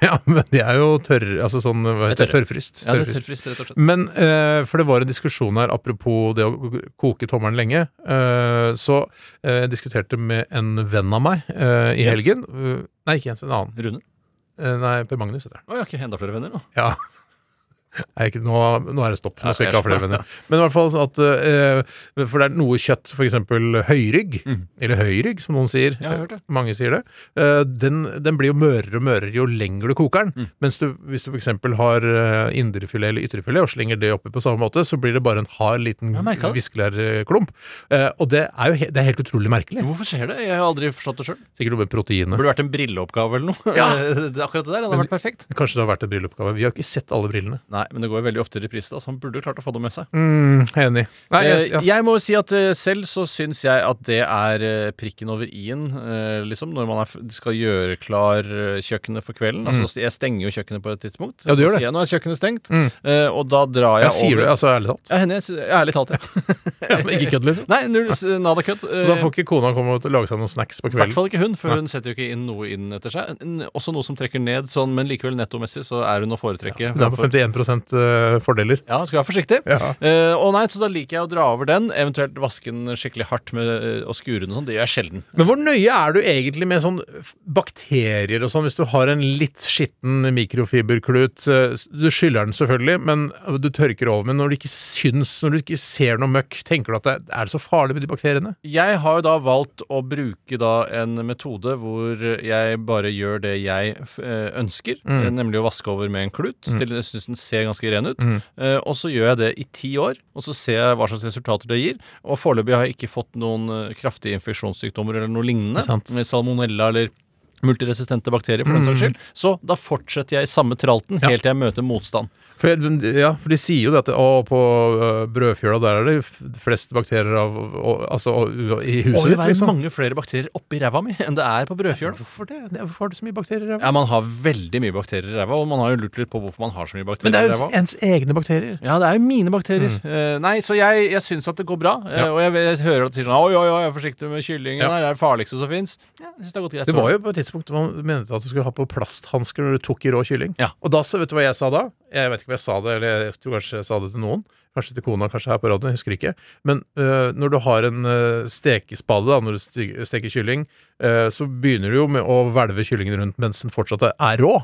Ja, men de er jo tørre, altså sånn hva heter det?
Tørre.
Tørrfryst.
Ja, det er
Tørrfryst.
tørrfrist, rett og slett.
Men eh, for det var en diskusjon her apropos det å koke tommelen lenge. eh, så eh, jeg diskuterte med en venn av meg eh, i
Jens.
helgen.
Mm.
Eh, nei, ikke Jens, en annen.
Rune?
Eh, nei, Per Magnus heter han.
Å ja, ikke enda flere venner nå.
Ja. Nei, ikke, nå, nå er det stopp. Nå skal jeg ikke
Ja,
ha flere venner. Men i hvert fall sånn at eh, For det er noe kjøtt, f.eks. høyrygg, eller høyrygg som noen sier.
Mm. Ja, jeg har hørt det.
Mange sier det. Eh, den, den blir jo mørere og mørere jo lenger du koker den.
Mm.
Mens du, hvis du f.eks. har eh, indrefilet eller ytrefilet og slenger det oppi på samme måte, så blir det bare en hard liten
Jeg merket det.
viskelærklump. Eh, og det er jo he det er helt utrolig merkelig.
Hvorfor skjer det? Jeg har aldri forstått det sjøl.
Sikkert noe med proteinet.
Burde vært en brilleoppgave eller noe.
Ja.
Det- Akkurat det der hadde vært perfekt.
Kanskje det har vært en brilleoppgave. Vi har ikke sett alle brillene.
Nei, men det går jo veldig ofte i reprise, da, så han burde jo klart å få det med seg.
Mm, jeg er enig. Nei, jeg,
Eh,
ja.
Jeg må jo si at eh, selv så syns jeg at det er eh, prikken over i-en, eh, liksom, når man er, f- skal gjøre klar eh, kjøkkenet for kvelden. Altså, jeg stenger jo kjøkkenet på et tidspunkt.
Mm. Ja, du gjør
Så
det.
sier jeg, Nå er kjøkkenet stengt,
Mm.
eh, og da drar jeg,
jeg sier
over
det, altså ærlig talt.
Ja, henne, jeg sy- jeg er ærlig talt, ja.
Ja, men ikke kødd, liksom.
Nei, null, s- nada kødd.
Så da får ikke kona komme og lage seg noen snacks på
I hvert
kvelden?
fall ikke hun, for hun setter jo ikke inn noe inn etter seg. N- Også noe som trekker ned, sånn, men likevel nettomessig så er hun å foretrekke.
Det er på 51 eh, fordeler.
Ja, skal være forsiktig.
Ja.
Eh, og nei, Så da liker jeg å dra over den, eventuelt vaske den skikkelig hardt med, eh, og skure den og sånn. Det gjør jeg sjelden.
Men hvor nøye er du egentlig med sånn f- bakterier og sånn, hvis du har en litt skitten mikrofiberklut? eh, s- Du skyller den selvfølgelig, men eh, du tørker over. Men når du ikke syns, når du ikke ser noe møkk, tenker du at det er- er det så farlig med de bakteriene?
Jeg har jo da valgt å bruke da en metode hvor jeg bare gjør det jeg f- eh, ønsker,
Mm.
eh, nemlig å vaske over med en klut. Til jeg syns den ser ganske ren ut.
Mm.
Eh, og så gjør jeg det i ti år, og så ser jeg hva slags resultater det gir. Og foreløpig har jeg ikke fått noen eh, kraftige infeksjonssykdommer eller noe lignende.
Det er sant. Mm.
Med salmonella eller multiresistente bakterier, for den saks skyld. Så da fortsetter jeg i samme tralten helt til jeg møter motstand.
For, jeg- ja, for de sier jo dette Å, på eh, brødfjøla der er det f- flest bakterier av, og, altså, og, i
Og
huset
det
ditt,
er
liksom.
mange flere bakterier oppi ræva mi enn det er på brødfjøla.
Hvorfor det? Hvorfor har du så mye bakterier? i ræva?
Ja, man har veldig mye bakterier i ræva, og man har jo lurt litt på hvorfor man har så mye
Men
bakterier
det
i
er jo
ræva.
ens, ens egne bakterier.
Ja, det er jo mine bakterier. Eh, nei, så jeg, jeg syns at det går bra. eh, og jeg, jeg hører at de sier sånn Oi, oi, oi, jeg er forsiktig med kyllingen.
Ja.
her, Det er det farligste som fins. Ja, jeg synes det har gått greit.
Det var jo på et tidspunkt man mente at du skulle ha på plasthansker når du tok i rå kylling.
Ja.
Og da, så vet du hva jeg sa da? Jeg vet ikke om jeg sa det, eller jeg tror kanskje jeg sa det til noen. Kanskje til kona, kanskje her på radioen, jeg husker ikke. Men øh, når du har en øh, stekespade, da, når du sti- steker kylling, øh, så begynner du jo med å hvelve kyllingen rundt mens den fortsatt er- er rå.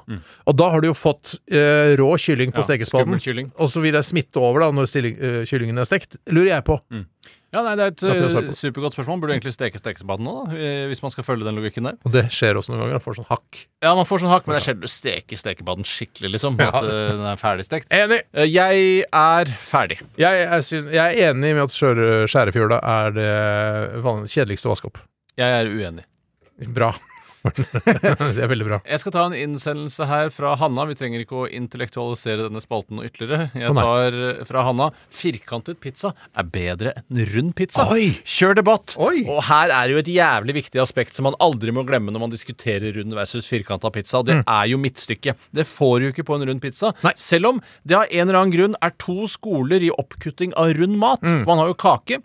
Og da har du jo fått øh, rå kylling på
Mm. Ja,
stekespaden.
skummel kylling.
Og så vil det smitte over da, når stilling, øh, kyllingen er stekt. Lurer jeg på.
Ja, nei, Det er et
Da får jeg
eh,
svar på.
supergodt spørsmål. Burde egentlig steke stekespaden nå, da, eh, hvis man skal følge den logikken der.
Og det skjer også noen ganger. Jeg får sånn hakk.
Ja, man får sånn hakk, men det er sjelden du steker stekepaden skikkelig, liksom.
Ja.
At eh, den er ferdigstekt.
Enig!
Eh, jeg er ferdig.
Jeg, jeg, syn- jeg er enig med at skjøre- skjærefjøla er det van- kjedeligste å vaske opp.
Jeg er uenig.
Bra. det er veldig bra.
Jeg skal ta en innsendelse her fra Hanna. Vi trenger ikke å intellektualisere denne spalten noe ytterligere. Jeg
Å, nei.
tar eh, fra Hanna. Firkantet pizza er bedre enn rund pizza.
Oi!
Kjør debatt!
Oi!
Og her er jo et jævlig viktig aspekt som man aldri må glemme når man diskuterer rund versus firkanta pizza, og det er jo midtstykket. Det får du ikke på en rund pizza.
Mm. Nei.
Selv om det av en eller annen grunn er to skoler i oppkutting av rund mat.
Mm.
Man har jo kake.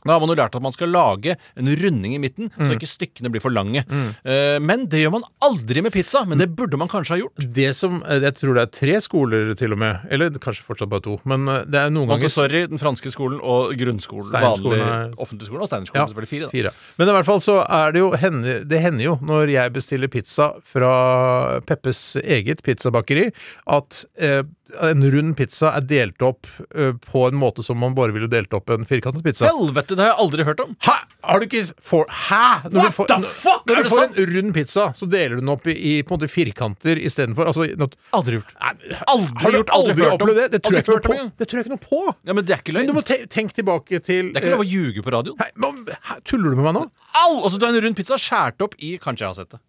Da har man jo lært at man skal lage en runding i midten,
Mm.
så ikke stykkene blir for lange. Eh, men det gjør man aldri med pizza, men det
Mm.
burde man kanskje ha gjort.
Det som, eh, Jeg tror det er tre skoler, til og med. Eller kanskje fortsatt bare to. Men eh, det er noen ganger
Montessori, den franske skolen og grunnskolen.
Steinerskolen
Vanlig
er-
offentlig skole og
Ja,
Steinerskolen, selvfølgelig fire. Da.
Fire. Men i hvert fall så er det jo hender, Det hender jo når jeg bestiller pizza fra Peppes eget pizzabakeri, at eh, en rund pizza er delt opp eh, på en måte som man bare ville delt opp en firkantet pizza.
Helvete, det har jeg aldri hørt om!
Hæ? Har du ikke s- for, Hæ? Når
What
du får,
the
når-
fuck?
Når
Er
du
det
får
sant?
en rund pizza, så deler du den opp i, i på en måte firkanter istedenfor. Altså, not-
Aldri gjort.
Nei,
Aldri
har du
gjort, aldri
aldri
hørt om.
opplevd det? Det tror, jeg ikke
Aldri hørt
noe
om
på.
engang.
det tror jeg ikke noe på.
Ja, men det er ikke
Men
løgn.
du må te tenk tilbake til
Det er ikke lov
eh,
å ljuge på radioen.
Nei, men, hæ, tuller du med meg nå?
Au! Altså, du har en rund pizza skåret opp i Kanskje jeg har sett det.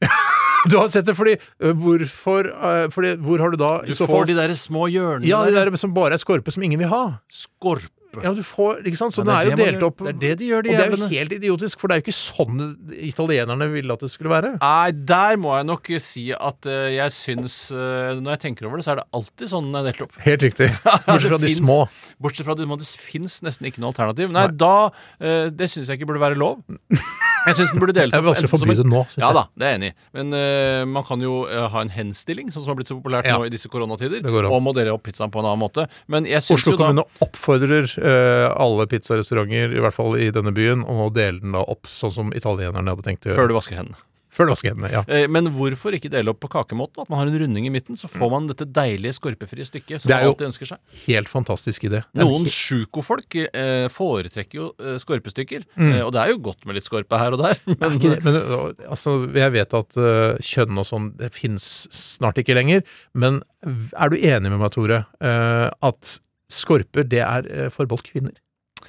Du har sett det fordi eh, Hvorfor eh, fordi, Hvor har du da
Du får de der små hjørnene
ja, de
der.
der som bare er skorpe, som ingen vil ha.
Skorpe.
Ja, du får, ikke sant? Så
Ja,
den er jo
det man
delt
gjør.
opp.
Det er det de gjør, de
og det er jo
jævlene.
helt idiotisk, for det er jo ikke sånn italienerne ville at det skulle være.
Nei, der må jeg nok si at eh, jeg syns eh, Når jeg tenker over det, så er det alltid sånn den er delt opp.
Helt riktig. Bortsett fra de
finnes-
små.
Bortsett fra at det, må- det fins nesten ikke noe alternativ. Nei, da eh, Det syns jeg ikke burde være lov. Jeg syns den burde deles
Det er
opp.
vanskelig å
enten som
forby
en-
det nå, syns
Ja
jeg.
da, det er jeg enig i. Men eh, man kan jo eh, ha en henstilling, sånn som har blitt så populært
Ja.
nå i disse koronatider.
går an.
Og modellere opp pizzaen på en annen måte. Men jeg syns
Oslo
jo da
kommune oppfordrer eh, alle pizzarestauranter, i hvert fall i denne byen, om å dele den da opp sånn som italienerne hadde tenkt å gjøre.
Før du vasker hendene.
Før du vasker hendene. ja.
Eh, Men hvorfor ikke dele opp på kakemåten? At man har en runding i midten, så får man dette deilige skorpefrie stykket som
Mm. Det er
man
jo-
alltid ønsker seg.
Helt fantastisk idé. Det er
Noen
he-
sjukofolk eh, foretrekker jo eh, skorpestykker, eh, og det er jo godt med litt skorpe her og der, men
Mm. Ikke det, Men øh, altså, jeg vet at øh, kjønn og sånn det fins snart ikke lenger, men er du enig med meg, Tore, øh, at skorper det er øh, forbeholdt kvinner?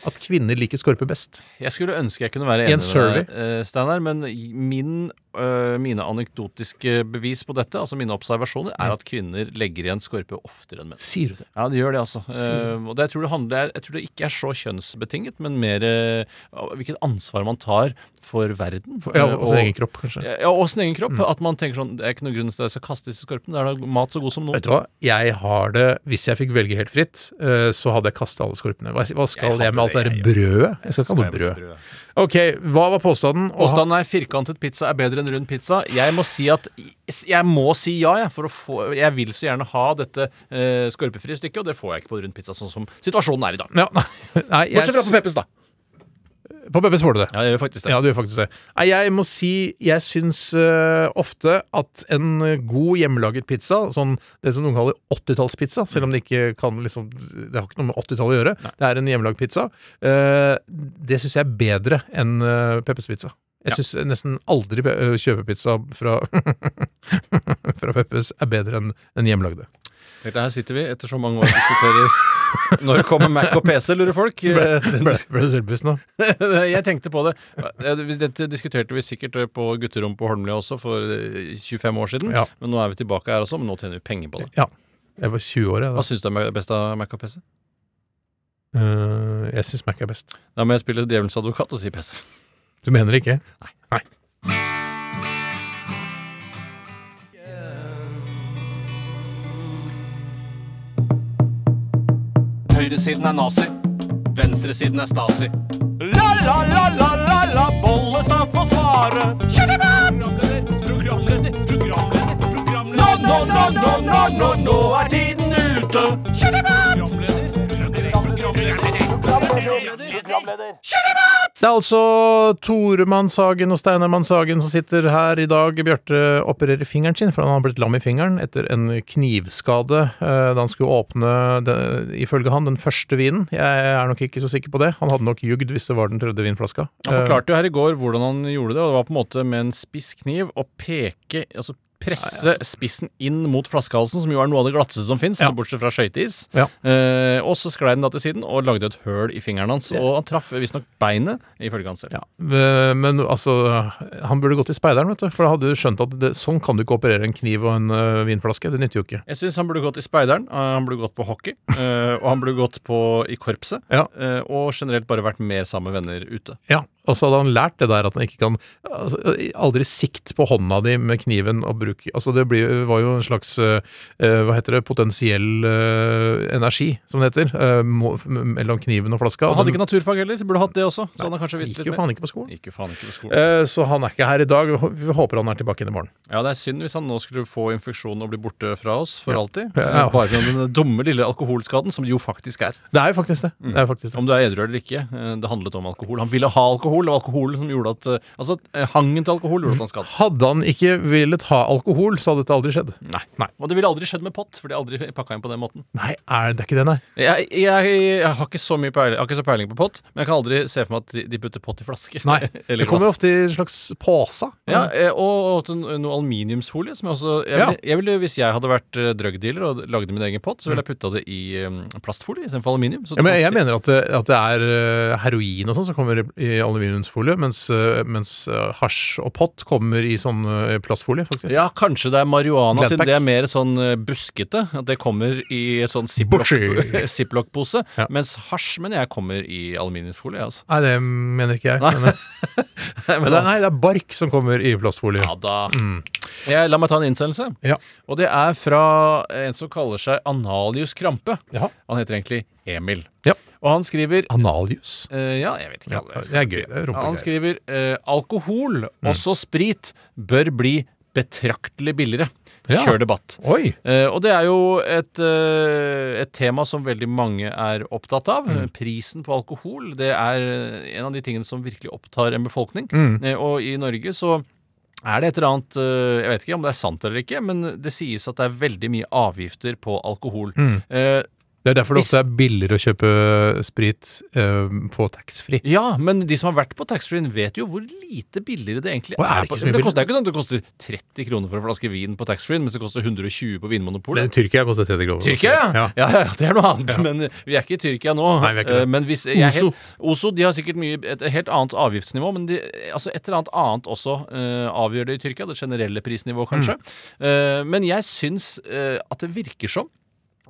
At kvinner liker skorper best?
jeg skulle ønske jeg kunne være
I
enig
en survey.
med deg, eh, Steinar, men min, eh, mine anekdotiske bevis på dette, altså mine observasjoner,
Mm.
er at kvinner legger igjen skorpe oftere enn menn.
Sier du det?
Ja, det gjør det, altså.
Sier
Eh, og det, jeg, tror det handler, jeg tror det ikke er så kjønnsbetinget, men mer eh, hvilket ansvar man tar for verden.
Ja,
eh,
og sin egen kropp, Mm. kanskje.
Ja, og sin egen kropp. At man tenker sånn Det er ikke noen grunn til at jeg skal kaste disse skorpene. Det er da mat så god som noen.
Vet du hva, jeg har det Hvis jeg fikk velge helt fritt, øh, så hadde jeg kasta alle skorpene. Hva, hva skal
Jeg
jeg,
hater
med alt det
det,
der
jeg
brødet? Jeg skal ikke
Skal
ha
jeg
noe brød.
brød?
Ok, hva var påstanden? Og ha-
Påstanden er firkantet pizza er bedre enn rund pizza. Jeg må si at Jeg må si ja, jeg. For å få, jeg vil så gjerne ha dette eh, skorpefrie stykket, og det får jeg ikke på rund pizza, sånn som situasjonen er i dag.
Ja, nei, jeg,
Bortsett fra på Peppes, da.
På Peppes får du det.
Ja, jeg gjør faktisk det.
Ja, du gjør faktisk det. Nei, jeg må si jeg syns eh, ofte at en eh, god hjemmelaget pizza, sånn det som noen kaller 80-tallspizza, selv om det ikke kan liksom Det har ikke noe med 80-tallet å gjøre, det er en hjemmelaget pizza, eh, det syns jeg er bedre enn uh, Peppers pizza. Jeg syns nesten aldri pe- eh, kjøpepizza fra, fra Peppers er bedre enn den hjemmelagde.
Tenk deg, her sitter vi etter så mange år og diskuterer Når det kommer Mac og PC, lurer folk. Eh,
Ble ble du selvbevisst nå?
jeg tenkte på det. Eh, Dette diskuterte vi sikkert eh, på gutterom på Holmlia også for eh, 25 år siden.
Ja.
Men nå er vi tilbake her også, men nå tjener vi penger på det.
Ja. Jeg var 20 år, jeg.
Hva
Da.
syns du er best av Mac og PC?
Eh, jeg syns Mac er best.
Da må jeg spille djevelens advokat og si PC.
Du mener det ikke? Nei.
Høyresiden er nazi. Venstresiden er stasi. La, la, la, la, la, la, Bollestad får svare. Programleder, programleder, programleder, programleder. Nå, nå, nå, nå, nå, nå, nå er tiden ute. Programleder, programleder, programleder, programleder.
Det er altså Toremann Sagen og Steinermann Sagen som sitter her i dag. Bjarte opererer fingeren sin, for han har blitt lam i fingeren etter en knivskade eh, da han skulle åpne, den, ifølge han, den første vinen. Jeg er nok ikke så sikker på det. Han hadde nok jugd hvis det var den tredje vinflaska.
Han forklarte jo her i går hvordan han gjorde det, og det var på en måte med en spiss kniv å peke Altså presse spissen inn mot flaskehalsen, som jo er noe av det glatteste som fins, bortsett fra skøyteis.
Ja.
Eh, og så sklei den da til siden og lagde et høl i fingeren hans, og han traff visstnok beinet, ifølge han selv.
Ja, eh, men altså Han burde gått i speideren, vet du. For da hadde du skjønt at det, sånn kan du ikke operere en kniv og en eh, vinflaske. Det nytter jo ikke.
Jeg syns han burde gått i speideren, eh, han burde gått på hockey, eh, og han burde gått på, i korpset.
Ja.
eh, Og generelt bare vært mer sammen med venner ute.
Ja, og så hadde han lært det der at han ikke kan altså, Aldri sikt på hånda di med kniven og bruk Altså, det blir, var jo en slags eh, eh, Hva heter det? Potensiell eh, energi, som det heter. eh, må, mellom kniven og flaska.
Han hadde ikke
Den
naturfag heller, burde hatt det også. Så han har kanskje visst
gikk
litt
jo
mer.
faen ikke på skolen.
Gikk jo faen ikke på skolen.
Eh, så han er ikke her i dag. Vi hå- Vi håper han er tilbake inn i morgen.
Ja, det er synd hvis han nå skulle få infeksjon og bli borte fra oss for alltid.
Ja.
Eh, Bare med den dumme lille alkoholskaden, som det jo faktisk er.
Det er jo faktisk det.
Mm.
det, er jo faktisk det.
Om du er edru eller ikke, eh, det handlet om alkohol. Han ville ha alkohol, og alkoholen som gjorde at eh, Altså, eh, hangen til alkohol gjorde at han skadet.
Hadde han ikke villet ha alkohol, så hadde dette aldri skjedd.
Nei. Og det ville aldri skjedd med pott, for de er aldri pakka inn på den måten.
Nei, er det er ikke det, nei.
Jeg, jeg, jeg har ikke så mye peiling, jeg har ikke så peiling på pott, men jeg kan aldri se for meg at de, de putter pott i flaske.
nei.
eller
Det kommer jo
glass.
ofte i en slags pose.
Ja, eh, og, og til noe aluminiumsfolie. Som jeg også, jeg
Ja.
ville, jeg ville, hvis jeg hadde vært eh, drugdealer og lagde min egen pott, så ville jeg putta det i um, plastfolie istedenfor aluminium. Så
Mm. Ja,
du
men
kan
jeg
se-
mener at det, at det er eh, heroin og sånn som kommer i, i aluminiumsfolie, mens, eh, mens eh, hasj og pott kommer i sånn eh, plastfolie, faktisk.
ja, kanskje det er marihuana,
Gladpack.
siden det er mer sånn eh, buskete. At det kommer i sånn
Butchie.
ziplock-pose.
Ja.
Mens hasj mener jeg kommer i aluminiumsfolie. Altså.
Nei, det mener ikke jeg.
Nei.
Men, eh, men det, nei, det er bark som kommer i plastfolie.
Ja da. Jeg, la meg ta en innsendelse.
Mm. Ja.
Og det er fra en som kaller seg Analius Krampe.
Ja.
Han heter egentlig Emil.
Ja.
Og han skriver
Analjus.
Eh, ja, jeg vet ikke.
Ja,
alle- jeg
det
skal
er
ikke-
gøy, det er Mm. rumpegreier.
Han skriver eh, alkohol, også sprit, bør bli betraktelig billigere.
Ja.
Kjør debatt.
Oi!
Eh, og det er jo et, eh, et tema som veldig mange er opptatt av.
Mm.
Prisen på
Mm.
alkohol det er en av de tingene som virkelig opptar en befolkning. Eh, og i Eh, Norge så er det et eller annet eh, Jeg vet ikke om det er sant eller ikke, men det sies at det er veldig mye avgifter på alkohol.
Mm.
Eh,
Det er derfor det ofte er billigere å kjøpe sprit eh, på taxfree.
ja, men de som har vært på taxfree-en, vet jo hvor lite billigere det egentlig
Å, er
er.
det
på-
ikke så mye
men det,
billigere?
koster, det er ikke sånn at det koster 30 kroner for en flaske vin på taxfree-en, mens det koster 120 på Vinmonopolet.
Men Tyrkia koster 30 kroner.
Tyrkia, ja.
ja.
Ja, ja, Det er noe annet. Men eh, vi er ikke i Tyrkia nå.
Nei, vi er ikke det.
Eh, Men hvis, jeg, er
Oso.
helt- Oso de har sikkert mye, et helt annet avgiftsnivå, men de, altså et eller annet annet også eh, avgjør det i Tyrkia. Det
Mm.
generelle prisnivået, kanskje. Eh, men jeg syns eh, at det virker som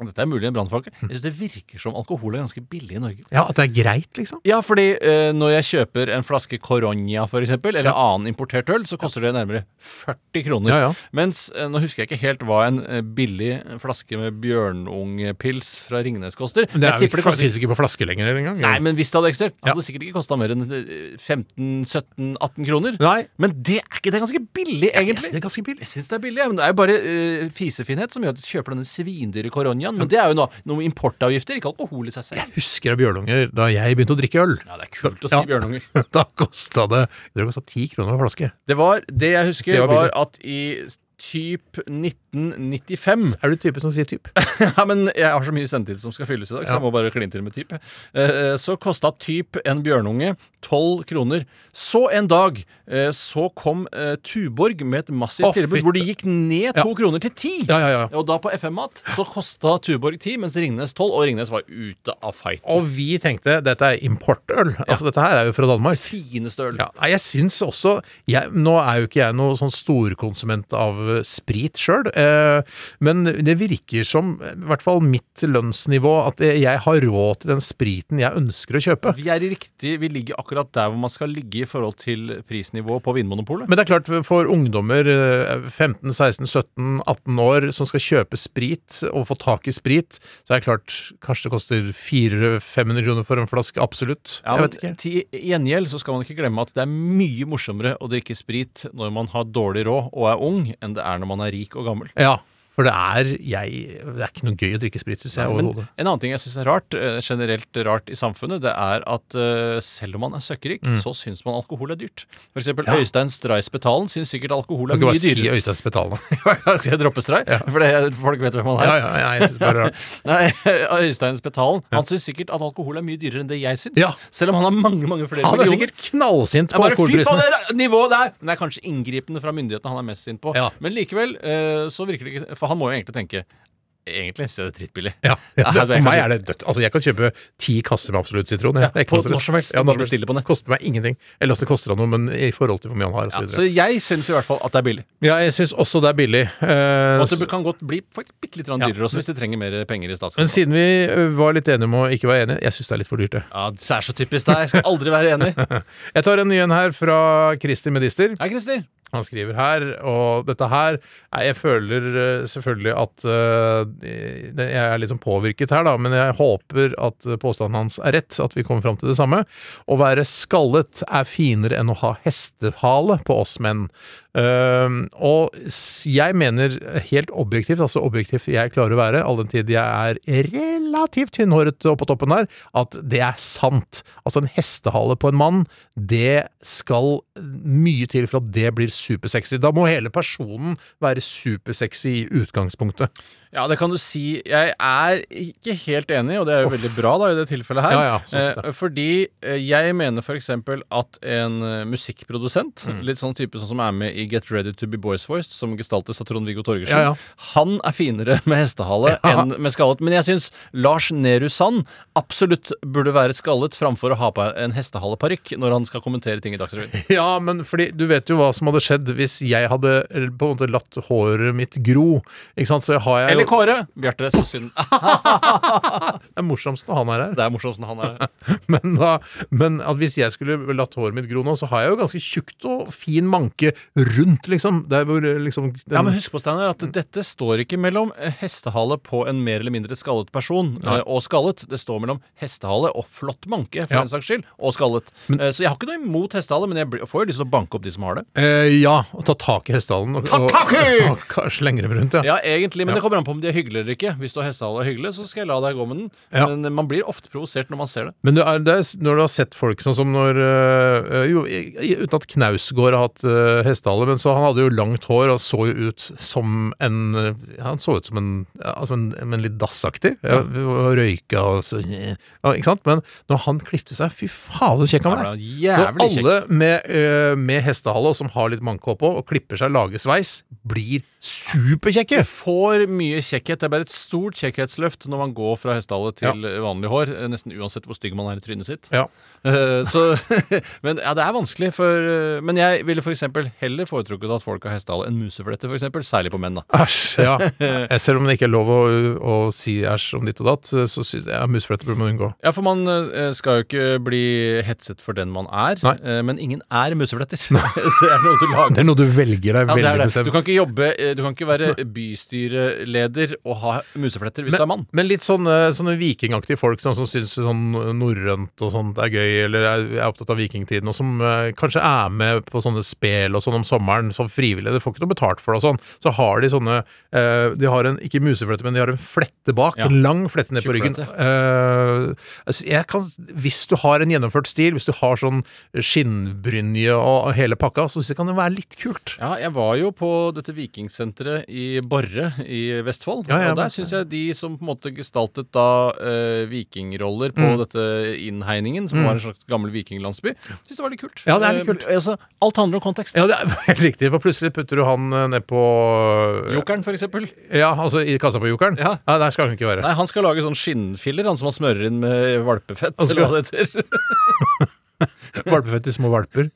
og dette er mulig en brannfakkel. Jeg synes Det virker som alkohol er ganske billig i Norge.
Ja, at det er greit, liksom.
Ja, fordi eh, når jeg kjøper en flaske Coronia for eksempel, eller annen importert øl, så koster det nærmere 40 kroner.
Ja, ja.
Mens eh, nå husker jeg ikke helt hva en eh, billig flaske med bjørnungpils fra Ringnes koster.
Men det er
jeg
jo
tipper
ikke,
det koster
faktisk ikke på flaske lenger engang.
Nei, men hvis det hadde eksistert,
Ja.
hadde det sikkert ikke kosta mer enn eh, 15-17-18 kroner.
Nei.
Men det er ikke det er ganske billig, egentlig.
det er ganske billig.
Jeg syns det er billig, ja, men det er jo bare eh, fisefinhet som gjør at du kjøper denne svindyre Coroniaen. Men det er jo noe, noe med importavgifter, ikke alkohol i seg selv.
Husker jeg Bjørnunger da jeg begynte å drikke øl.
Ja, det er kult å si
Ja.
bjørnunger.
Da kosta det Jeg tror det kosta ti kroner per flaske.
Det var, det jeg husker,
Så det var
var
billig.
at i typ 1995
Er du type som sier type?
Ja, men jeg har så mye sendetid som skal fylles i dag, så
Ja.
jeg må bare kline til med typ. Eh, Så kosta typ en bjørnunge 12 kroner. Så en dag eh, så kom eh, Tuborg med et
Å,
massivt tilbud
fytte.
hvor de gikk ned to kroner til ti.
Ja, ja, ja.
Og da på FM-mat så kosta Tuborg 10, mens Ringnes 12, og Ringnes var ute av fight.
Og vi tenkte dette er importøl. Altså, dette her er jo fra Danmark.
Fineste øl.
Ja, nei, jeg syns også jeg, Nå er jo ikke jeg noen sånn storkonsument av eh, sprit sjøl, eh, men det virker som, eh, i hvert fall mitt lønnsnivå, at eh, jeg har råd til den spriten jeg ønsker å kjøpe.
Vi er i riktig, vi ligger akkurat der hvor man skal ligge i forhold til prisnivået på Vinmonopolet.
Men det er klart, for ungdommer eh, 15, 16, 17, 18 år som skal kjøpe sprit og få tak i sprit, så er det klart kanskje det koster 400-500 kroner for en flaske. Absolutt. jeg
Ja, men
vet ikke.
til gjengjeld så skal man ikke glemme at det er mye morsommere å drikke sprit når man har dårlig råd og er ung, enn det er når man er rik og gammel.
Ja, for det er, jeg, det er ikke noe gøy å drikke sprit, syns jeg.
Men
overhodet.
en annen ting jeg syns er rart, eh, generelt rart i samfunnet, det er at eh, selv om man er søkkrik,
Mm.
så syns man alkohol er dyrt. For eksempel Øystein Stray Spetalen syns sikkert alkohol
Kan
er
ikke
mye
bare si
dyrere.
Øystein Spetalen.
Skal jeg droppe Stray? For det- folk vet hvem han er.
ja, ja, ja, jeg synes bare det er rart.
Nei, Øystein Spetalen Han syns sikkert at alkohol er mye dyrere enn det jeg syns.
Ja.
Selv om han har mange mange flere
Han Ah, er
millioner.
sikkert knallsint
Jeg
på
bare, fy faen,
alkoholprisene.
det er nivået der! Men det er kanskje inngripende fra myndighetene han er mest sint på.
Ja.
Men likevel, eh, så virker det ikke For han må jo egentlig tenke Egentlig syns jeg det er drittbillig.
Ja, ja,
Ja,
det,
det er
for meg
kanskje-
er det dødt. Altså, jeg kan kjøpe ti kasser med absolutt sitron. jeg.
Ja,
Det er ikke
på-
noe stress.
når som helst.
Ja,
Bare
når som helst.
bestille på nett.
Koster meg ingenting. Eller altså, det koster han noe, men i forhold til hvor mye han har, og
Ja,
så videre.
så jeg syns i hvert fall at det er billig.
Ja, jeg syns også det er billig. Eh,
Og at det kan godt bli faktisk bitte litt
Ja.
dyrere også, hvis de trenger mer penger i
men
statskassen.
siden vi ø, var litt enige om å ikke være enige, jeg syns det er litt for dyrt, det.
Ja, det er så typisk deg. Jeg skal aldri være enig.
Jeg tar en ny en her fra Christer Medister.
Hei, Christer.
Han skriver her, og dette her nei, Jeg føler eh, selvfølgelig at eh, det- Jeg er litt sånn påvirket her, da, men jeg håper at påstanden hans er rett, at vi kommer fram til det samme. Å være skallet er finere enn å ha hestehale på oss menn. Ehm, og s- jeg mener helt objektivt, altså objektivt jeg klarer å være, all den tid jeg er relativt tynnhåret oppå toppen her, at det er sant. Altså en hestehale på en mann, det skal mye til for at det blir supersexy. Da må hele personen være supersexy i utgangspunktet.
Ja, det kan du si. Jeg er ikke helt enig, og det er jo veldig bra da i det tilfellet her.
Ja, ja, sånn sett,
eh, fordi eh, jeg mener for eksempel at en eh, musikkprodusent,
Mm.
litt sånn type sånn som er med i Get Ready To Be Boys Voiced, som gestaltes av Trond-Viggo Torgersen,
Ja, ja.
han er finere med hestehale enn med skallet. Men jeg syns Lars Nehru Sand absolutt burde være skallet framfor å ha på en hestehaleparykk når han skal kommentere ting i Dagsrevyen.
Ja, men fordi du vet jo hva som hadde skjedd hvis jeg hadde eh, på en måte latt håret mitt gro. Ikke sant? Så har jeg
Eller
jo
Kåre. Bjarte, så synd. Ah,
Det er morsomst når han er her.
Det er morsomst når han er her.
Men, da, men at hvis jeg skulle latt håret mitt gro nå, så har jeg jo ganske tjukt og fin manke rundt, liksom. Der hvor eh, liksom den,
Ja, men husk på, Steiner, at dette står ikke mellom eh, hestehale på en mer eller mindre skallet person eh, og skallet. Det står mellom hestehale og flott manke, for
Ja.
den saks skyld, og skallet. Eh, Så jeg har ikke noe imot hestehale, men jeg blir- får jo lyst til å banke opp de som har det.
eh, Ja, og ta tak i hestehalen. og-
Ta tak i!
Og, og, og slenge dem rundt, ja.
Ja, egentlig, men det kommer an på på om de er hyggelige eller ikke. Hvis du har hestehale og er hyggelig, så skal jeg la deg gå med den.
Ja.
Men eh, man blir ofte provosert når man ser det.
Men du er, det er, s- når du har sett folk sånn som når øh, øh, Jo, i- i- uten at Knausgård har hatt øh, hestehale, men så han hadde jo langt hår og så jo ut som en øh, Han så ut som en, ja, som en, men litt dassaktig. Ja. og Røyka og så ja, Ikke sant? Men når han klipte seg, fy faen så kjekk han ble!
Ja,
Så
jævlig kjekk.
alle med, øh, med hestehale og som har litt mankhår på, og klipper seg, lager sveis, blir superkjekke!
Du får mye kjekkhet. Det er bare et stort kjekkhetsløft når man går fra hestehale til vanlig hår. eh, Nesten uansett hvor stygg man er i trynet sitt.
Ja.
Eh, så, men ja, det er vanskelig, for eh, Men jeg ville f.eks. heller foretrukket at folk har hestehale enn museflette, for eksempel, Særlig på menn, da.
Æsj. Ja. Eh, Selv om det ikke er lov å, å si æsj om ditt og datt, eh, så syns jeg museflette burde man unngå.
Ja, for man eh, skal jo ikke bli hetset for den man er,
Nei.
eh, men ingen er musefletter. det er noe du lager.
Det er noe du velger deg
Ja, det er
veldig
det. Du
bestemt.
kan ikke jobbe eh, Du kan ikke være bystyreleder og ha musefletter hvis du er mann.
men litt sånn, eh, sånne vikingaktige folk sånn, som syns sånn norrønt og sånt er gøy, eller er, er opptatt av vikingtiden, og som eh, kanskje er med på sånne spel og sånn om sommeren som frivillige. De får ikke noe betalt for det og sånn. Så har de sånne eh, De har en, ikke museflette, men de har en flette bak.
Ja.
En lang flette ned på ryggen.
Tjukkflette.
Eh, altså, jeg kan, hvis du har en gjennomført stil, hvis du har sånn skinnbrynje og og hele pakka, så syns jeg kan det være litt kult.
Ja, jeg var jo på dette vikingsenteret i Borre i Vestfold.
Ja, ja,
og
men-
der syns jeg de som på en måte gestaltet da eh, vikingroller
Mm.
på dette innhegningen, som var en slags gammel vikinglandsby, syns det var litt kult.
Ja, det er litt
Eh,
kult.
altså, alt handler om kontekst.
Ja, det er helt riktig, for plutselig putter du han eh, ned på eh,
Jokeren, for eksempel.
Ja, altså i kassa på jokeren?
Ja.
Nei, der skal han ikke være.
Nei, han skal lage sånn skinnfiller, han som han smører inn med valpefett.
Han skal-
Eller hva det heter.
Valpefett til små valper.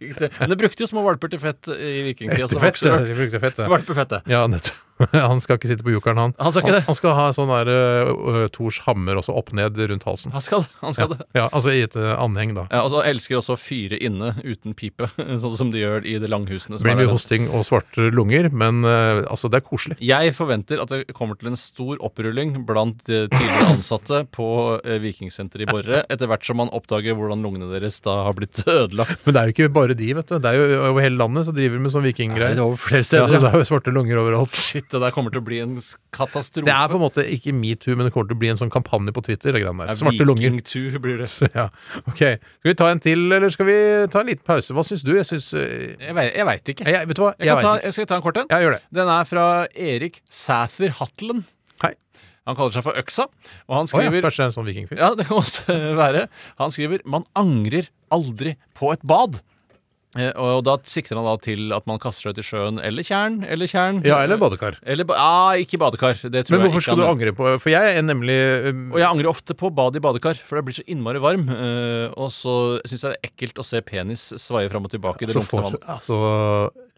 Riktig. Men det brukte jo små valper til fett i vikingtida. så
Til fett,
vokser det.
de brukte fett, ja.
Valpefettet.
ja nettopp. Han skal ikke sitte på jokeren, han.
Han skal ikke det.
Han skal ha sånn der uh, Thors hammer også opp ned rundt halsen.
Han skal, han skal det.
Ja, altså i et uh, anheng, da.
Ja, og så elsker også å fyre inne uten pipe, sånn som de gjør i de langhusene.
Det
Som
blir
er
mye
der.
hosting og svarte lunger, men uh, altså, det er koselig.
Jeg forventer at det kommer til en stor opprulling blant eh, tidligere ansatte på eh, Vikingsenteret i Borre, etter hvert som man oppdager hvordan lungene deres da har blitt ødelagt.
Men det er jo ikke bare de, vet du. Det er jo over hele landet så driver de med sånn vikinggreier.
over flere
Ja,
Ja,
det er jo svarte lunger overalt.
Shit, det der kommer til å bli en s- katastrofe.
Det er på en måte ikke metoo, men det kommer til å bli en sånn kampanje på Twitter. Det greiene
Ja,
der. Svarte lunger.
Viking 2 blir det.
Så, ja. Ok, Skal vi ta en til, eller skal vi ta en liten pause? Hva syns du? Jeg syns eh,
Jeg, vei- jeg veit ikke.
jeg, Vet du hva?
Jeg, kan
vet
ta,
ikke.
jeg skal ta en kort en.
Ja, gjør det.
Den er fra Erik Sæther Hatlen.
Hei.
Han kaller seg for Øksa, og han
Å ja,
skriver
kanskje det er en sånn vikingfyr?
Ja, det kan godt være. Han skriver 'Man angrer aldri på et bad'. Eh, Og da sikter han da til at man kaster seg ut i sjøen eller tjern. Eller tjern.
Ja, eller badekar.
Eller ba ja, ikke badekar. Det tror
Men
jeg
hvorfor
ikke
skal du
han-
angre på For jeg er nemlig eh,
Og jeg angrer ofte på bad i badekar, for det blir så innmari varm. eh, Og så syns jeg det er ekkelt å se penis svaie fram og tilbake i det
så
lunkne
får
vannet.
altså,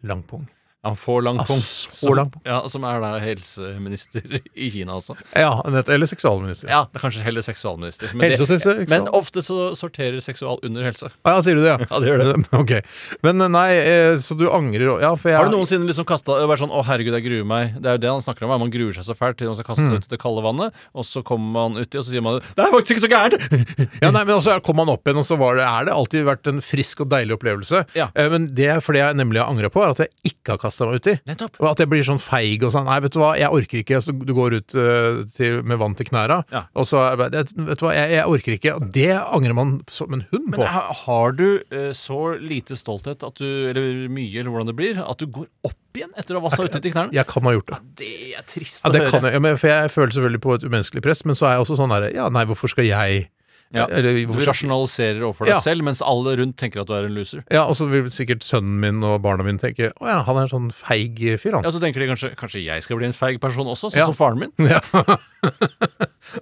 langpung.
Han får lang
Altså,
pung.
så
Som-
lang pung.
Ja, som er da helseminister i Kina, altså.
Ja, nett, eller seksualminister.
Ja, det er kanskje heller seksualminister. Men,
Helse og
det,
seksual-
men ofte så sorterer seksual under helse.
Å, ja, sier du det, ja?
Ja, det gjør det.
Ok. Men eh, nei, eh, så du angrer og- Ja, for jeg
Har du noensinne liksom kastet, vært sånn 'Å, herregud, jeg gruer meg'. Det er jo det han snakker om. er Man gruer seg så fælt til man skal kaste
Mm.
seg ut i det kalde vannet, og så kommer man uti, og så sier man 'Det er faktisk ikke så gærent'!
Ja, nei, men også kom han opp igjen, og så var det, er det alltid vært en frisk og deilig opplevelse.
Ja.
Eh, men det er fordi jeg nemlig har angra på, er at jeg ikke har kasta meg uti.
Nettopp.
Og at jeg blir sånn feig og sånn. Nei, vet du hva, jeg orker ikke. Så du går ut eh, til, med vann til knæra,
Ja.
og så er det bare, det- Vet du hva, jeg, jeg orker ikke. Og det angrer man som en hund
Men
på.
ha- har du eh, så lite stolthet, at du, eller mye, eller hvordan det blir, at du går opp igjen etter å ha vassa uti til knærne?
Jeg kan ha gjort det.
Det er trist
Ja,
å
det
høre.
kan jeg, ja, men for jeg føler selvfølgelig på et umenneskelig press, men så er jeg også sånn derre Ja, nei, hvorfor skal jeg
Ja.
Eller,
Du
hvorfor,
rasjonaliserer overfor deg
Ja.
selv, mens alle rundt tenker at du er en loser.
ja, og så vil sikkert sønnen min og barna mine tenke Å ja, han er en sånn feig fyr, han.
Ja, Så tenker de kanskje kanskje jeg skal bli en feig person også, sånn
Ja.
som faren min.
Ja.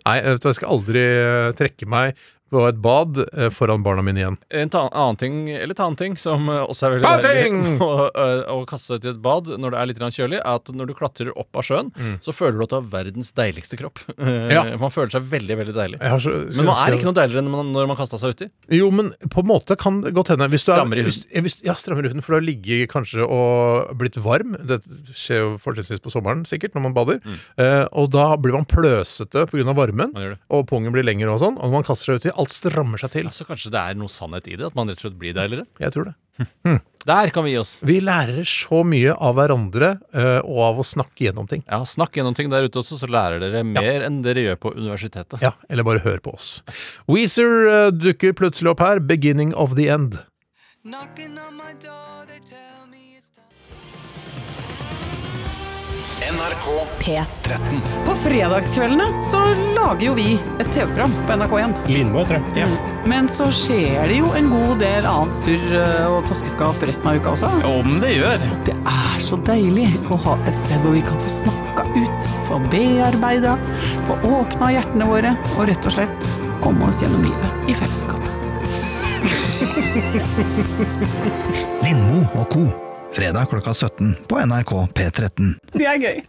Nei, vet du, jeg skal aldri eh, trekke meg på et bad eh, foran barna mine igjen.
En ta annen ting, eller ta annen ting, som eh, også er veldig
Ta
deilig
ting!
å, eh, å kaste seg til et bad når det er litt grann kjølig, er at når du klatrer opp av sjøen, så føler du at du har verdens deiligste kropp. Eh,
Ja.
Man føler seg veldig, veldig deilig.
Jeg har så,
Men man er ikke noe deiligere enn man, når man kasta seg uti.
Jo, men på en måte kan det godt hende. Hvis du
Strammere i
er, hvis, hvis, ja, strammere i huden, for du har ligget kanskje og blitt varm. Det skjer jo fortrinnsvis på sommeren, sikkert, når man bader. Eh, og da blir man pløsete pga. varmen,
Mm. Man gjør det.
og pungen blir lengre og sånn. Og når man kaster seg uti, alt strammer seg til.
Ja, så kanskje det er noe sannhet i det, at man rett og slett blir deiligere.
Jeg tror det.
Der kan vi gi oss.
Vi lærer så mye av hverandre eh, og av å snakke gjennom ting.
Ja, Snakk gjennom ting der ute også, så lærer dere mer enn dere gjør på universitetet.
Ja, eller bare hør på oss. Weezer eh, dukker plutselig opp her. 'Beginning of the End'.
På fredagskveldene så lager jo vi et TV-program på NRK1.
Mm.
Men så skjer det jo en god del annet surr eh, og toskeskap resten av uka også.
Om det gjør.
Det er så deilig å ha et sted hvor vi kan få snakka ut, få bearbeida, få åpna hjertene våre og rett og slett komme oss gjennom livet i fellesskap.
Lindmo og co. Fredag klokka 17 på NRK P13.
Det er gøy.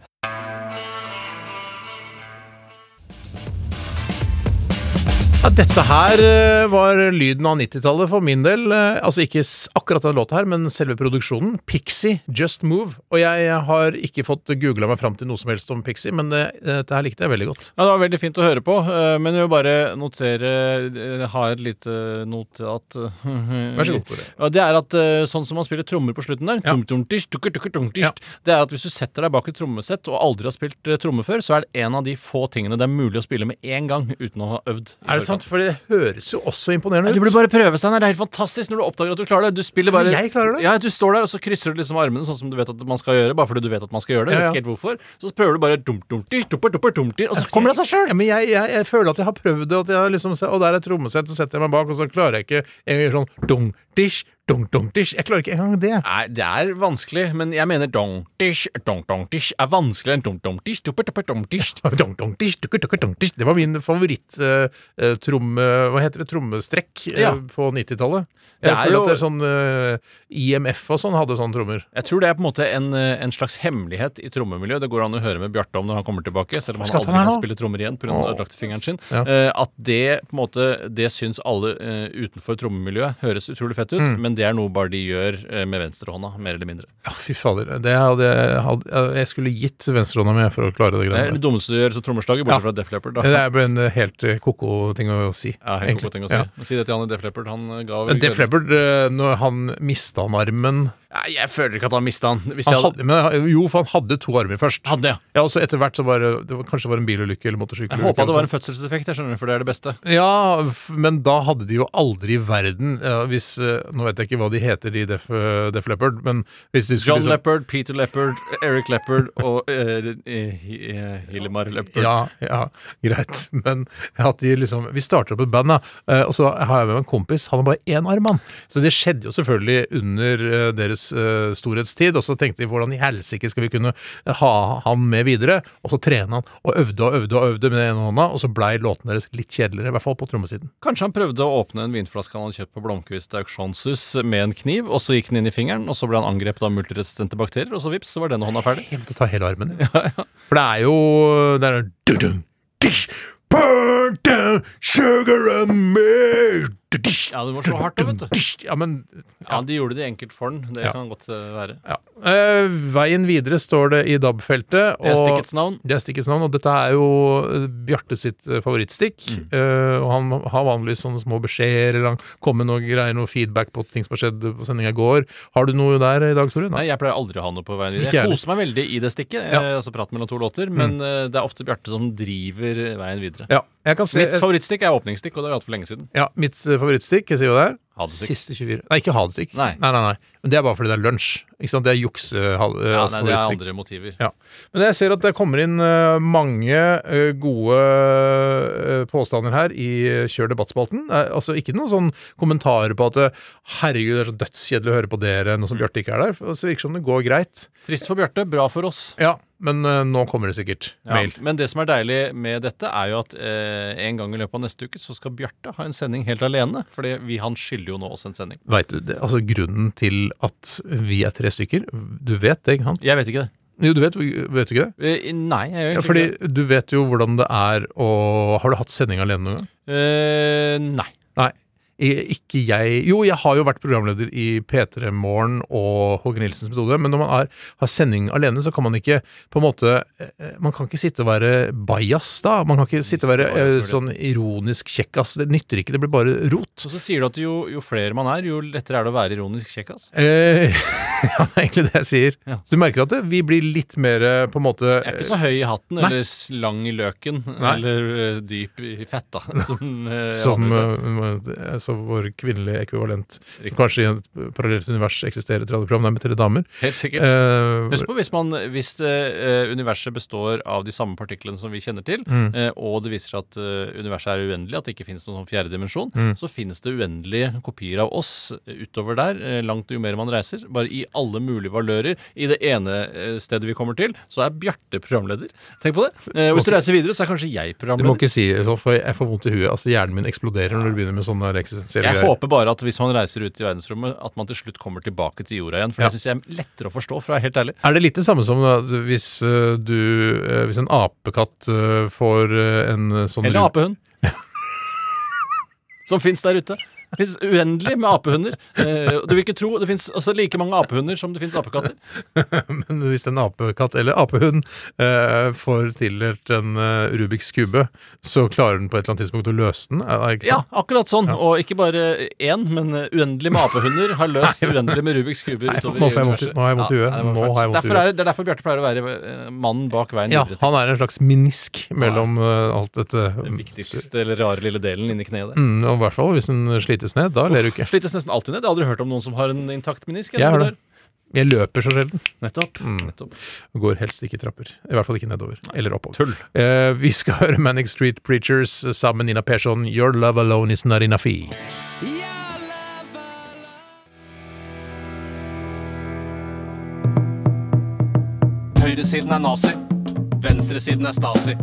Ja, dette her eh, var lyden av 90-tallet for min del. Eh, Altså ikke s- akkurat den låta her, men selve produksjonen. Pixie, Just Move. Og jeg har ikke fått googla meg fram til noe som helst om Pixie, men eh, dette her likte jeg veldig godt.
Ja, Det var veldig fint å høre på, eh, men jeg vil bare notere eh, Ha et lite notat Vær
Vær så god, Tore.
Ja, det er at eh, Sånn som man spiller trommer på slutten der,
Ja.
tum, tum, tish, tukker, tukker, tum, tish,
Ja.
det er at hvis du setter deg bak et trommesett og aldri har spilt eh, tromme før, så er det en av de få tingene det er mulig å spille med én gang uten å ha øvd.
Er det
i forkant.
sant? For det høres jo også imponerende ut.
Ja, du burde bare prøve, Steinar. Det er helt fantastisk når du oppdager at du klarer det. Du spiller
Tror
bare
jeg klarer det?
Ja, Du står der, og så krysser du liksom armene sånn som du vet at man skal gjøre. Bare fordi du vet at man skal gjøre det.
Ja, ja.
Vet ikke helt hvorfor. Så prøver du bare dum, dum, tish, dupper, dupper, dum, tish, og så kommer det av seg sjøl.
Ja, men jeg, jeg, jeg føler at jeg har prøvd det, at jeg har liksom, se- og der er et trommesett, så setter jeg meg bak, og så klarer jeg ikke Jeg gjør sånn dung, dish, dung, dung, dish. Jeg klarer ikke engang det.
Nei, det er vanskelig, men jeg mener dong-tish, dong-dong-tish er vanskeligere enn dong-dong-tish, dupper-dupper-dong-tish.
Dung, dung, dish, dukker, dukker, dung, dish. Det var min favoritt-tromme... hva heter det? Trommestrekk eh,
Ja.
på 90-tallet. Jeg
Det er
føler
jo-
at det er sånn eh, IMF og sånn hadde sånne trommer.
Jeg tror det er på en måte en, eh, en slags hemmelighet i trommemiljøet. Det går an å høre med Bjarte om når han kommer tilbake, selv om han
skal
aldri
han her
kan
nå?
spille trommer igjen pga. den ødelagte fingeren sin.
Ja.
Eh, At det på en måte, det syns alle eh, utenfor trommemiljøet høres utrolig fett ut,
Mm.
men det er noe bare de gjør eh, med venstrehånda, mer eller mindre.
Ja, fy fader. Det hadde, jeg- hadde, jeg skulle gitt venstrehånda mi for å klare det
Det er
greiene der.
det dummeste du gjør som trommeslager, bortsett
Ja.
fra Def Leppard.
Det
Da.
er bare en eh, helt eh, ko-ko ting å si.
Ja, helt god ting å si.
Ja.
si det til han i Def Leppard. Han eh, ga
Men Def Leppard, eh, når han mista han armen
Nei, Jeg føler ikke at han mista han. Hvis
han
jeg hadde,
hadde, men, eh, Jo, for han hadde to armer først.
hadde ja.
Ja, og så etter hvert så bare det var, Kanskje det var en bilulykke eller motorsykkelulykke.
Jeg håpa det
eller
var
noe
en fødselseffekt, jeg skjønner, for det er det beste.
sånt. Ja, f- men da hadde de jo aldri i verden eh, Hvis eh, Nå vet jeg ikke hva de heter, de Def, eh, Def Leppard, men hvis de skulle liksom-
John Leppard, Peter Leppard, Eric Leppard og eh, eh, eh, Hillemar Leppard.
Ja, ja, greit. Men at de liksom Vi starter opp et band, da, eh, og så har jeg med meg en kompis. Han har bare én arm, han. Så det skjedde jo selvfølgelig under eh, deres eh, storhetstid. Og så tenkte de hvordan i helsike skal vi kunne ha han med videre? Og så trene han, og øvde og øvde og øvde med den ene hånda, og så blei låtene deres litt kjedeligere. I hvert fall på trommesiden.
Kanskje han prøvde å åpne en vinflaske han hadde kjøpt på Blomkvist auksjonshus med en kniv, og så gikk den inn i fingeren, og så ble han angrepet av multiresistente bakterier, og så vips, så var denne hånda ferdig.
Glemte å ta hele armen. Ja, For det er jo Det er dudum, dish, burn down, sugar and milk. Dish,
Ja, det var så hardt, da, vet du.
dish. Ja, men
Ja, de gjorde det enkelt for den. Det
Ja.
kan godt eh, være.
Ja. Eh, veien videre står det i DAB-feltet.
Det er
og-
stikkets navn.
Det er stikkets navn, og dette er jo eh, Bjarte sitt eh, favorittstikk.
Mm.
Eh, og han har vanligvis sånne små beskjeder, eller han kommer med noe greier, noe feedback på ting som har skjedd på sendinga i går. Har du noe der i dag, Tore?
Nei, jeg pleier aldri å ha noe på veien videre.
Ikke
Jeg
jeg
koser meg veldig i det stikket, eh, altså prat mellom to låter, men eh, det er ofte Bjarte som driver veien videre.
Ja, jeg kan se,
Mitt
eh,
favorittstikk er åpningsstikk, og det har vi hatt for lenge siden.
ja, mitt eh, favorittstikk, jeg sier jo det er
Hadestikk.
Siste 24 Nei, ikke hadestikk.
Nei.
Nei, nei, nei. Men det er bare fordi det er lunsj. Ikke sant? Det er
Ja, nei, det er
jukse-favorittstikk.
andre motiver.
Ja. Men jeg ser at det kommer inn eh, mange eh, gode eh, påstander her i eh, Kjør debattspalten. Eh, altså ikke noen sånn kommentarer på at eh, 'herregud, det er så dødskjedelig å høre på dere' nå som Bjarte ikke er der. For Det virker som det går greit.
Trist for Bjarte, bra for oss.
Ja, men eh, nå kommer det sikkert
Ja,
mail.
men det som er deilig med dette, er jo at eh, en gang i løpet av neste uke så skal Bjarte ha en sending helt alene. Fordi vi, han skylder jo nå oss en sending.
Vet du det? Altså grunnen til at vi er tre stykker Du vet det, ikke sant?
Jeg vet ikke det.
Jo, du vet, vet du ikke det?
Eh, nei, jeg gjør
Ja,
egentlig
fordi
ikke det.
du vet jo hvordan det er å Har du hatt sending alene noen gang?
Eh, nei.
Nei. i- ikke jeg Jo, jeg har jo vært programleder i P3 Morgen og Holger Nilsens metode, men når man er, har sending alene, så kan man ikke på en måte eh, Man kan ikke sitte og være bajas da. Man kan ikke sitte og være
det var
eh,
det som
sånn ironisk kjekkas. Det nytter ikke, det blir bare rot.
Og så sier du at jo, jo flere man er, jo lettere er det å være ironisk kjekkas.
Eh, ja, det er egentlig det jeg sier.
Ja.
Så du merker at det, vi blir litt mer eh, på en måte
Jeg er ikke så høy i hatten
Nei.
eller s- lang i løken
Nei.
eller eh, dyp i fetta, som, eh,
Som
vanligvis er.
eh, altså vår kvinnelige ekvivalent, som kanskje i et parallelt univers eksisterer i et radioprogram, det er med tre damer.
Helt sikkert.
Eh,
Husk på hvis, man, hvis eh, universet består av de samme partiklene som vi kjenner til,
Mm.
eh, og det viser seg at eh, universet er uendelig, at det ikke finnes noen sånn fjerde dimensjon,
Mm.
så finnes det uendelige kopier av oss utover der, eh, langt jo mer man reiser, bare i alle mulige valører. I det ene eh, stedet vi kommer til, så er Bjarte programleder. Tenk på det. Eh, og hvis du reiser videre, så er kanskje jeg
du må
programleder.
ikke si sånn, for jeg får vondt i huet. Altså Hjernen min eksploderer når du begynner med sånne eksistensielle
Jeg håper bare at hvis man reiser ut i verdensrommet, at man til slutt kommer tilbake til jorda igjen. For
Ja.
det syns jeg er lettere å forstå, for å være helt ærlig.
Er det litt det samme som at hvis eh, du eh, Hvis en apekatt eh, får eh, en eh, sånn
Eller apehund. Som fins der ute. Det fins uendelig med apehunder. Eh, og du vil ikke tro Det fins altså, like mange apehunder som det fins apekatter.
Men hvis en apekatt eller apehund eh, får tildelt en eh, Rubiks kube, så klarer den på et eller annet tidspunkt å løse den? Er det ikke
Ja,
sant?
akkurat sånn. Og ikke bare én, men eh, uendelig med apehunder har løst
Nei, men-
uendelig med Rubiks kuber
Nei,
utover
nå får jeg vondt i- nå har jeg vondt i huet.
nei, det var
Nå
faktisk-
har jeg vondt i
derfor er, det- Det er derfor Bjarte pleier å være eh, mannen bak veien
Ja,
videre.
han er en slags menisk mellom eh, alt dette.
Den viktigste eller rare lille delen inni kneet der.
Mm, og I hvert fall hvis den slites ned. Da ler du ikke.
Slites nesten alltid ned. Jeg har aldri hørt om noen som har en intakt menisk.
Jeg har det. Jeg løper så sjelden.
Nettopp.
Mm.
Nettopp.
Og Går helst ikke i trapper. I hvert fall ikke nedover. Eller oppover.
Tull.
Eh, vi skal høre Manic Street Preachers sammen med Nina Persson. Your love alone is not enough.
Høyresiden er nazi. Venstresiden er stasi.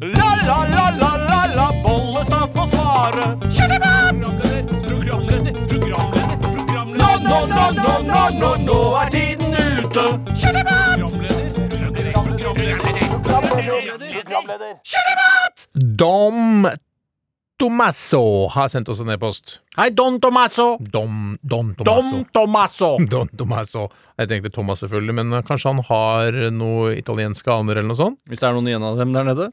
La, la, la, la, la, la, Bollestad får svare. Programleder, programleder, programleder, programleder. Nå, nå, nå, nå, nå, nå, nå er tiden ute. Programleder, programleder, programleder, programleder.
Dom Tomasso har sendt oss en e-post.
Hei, Don Tomasso.
Dom, Don Tomasso.
Tomasso.
Don Tomasso. Jeg tenkte Thomas, selvfølgelig, men eh, kanskje han har noe italienske aner eller noe sånt?
Hvis det er noen igjen av dem der nede?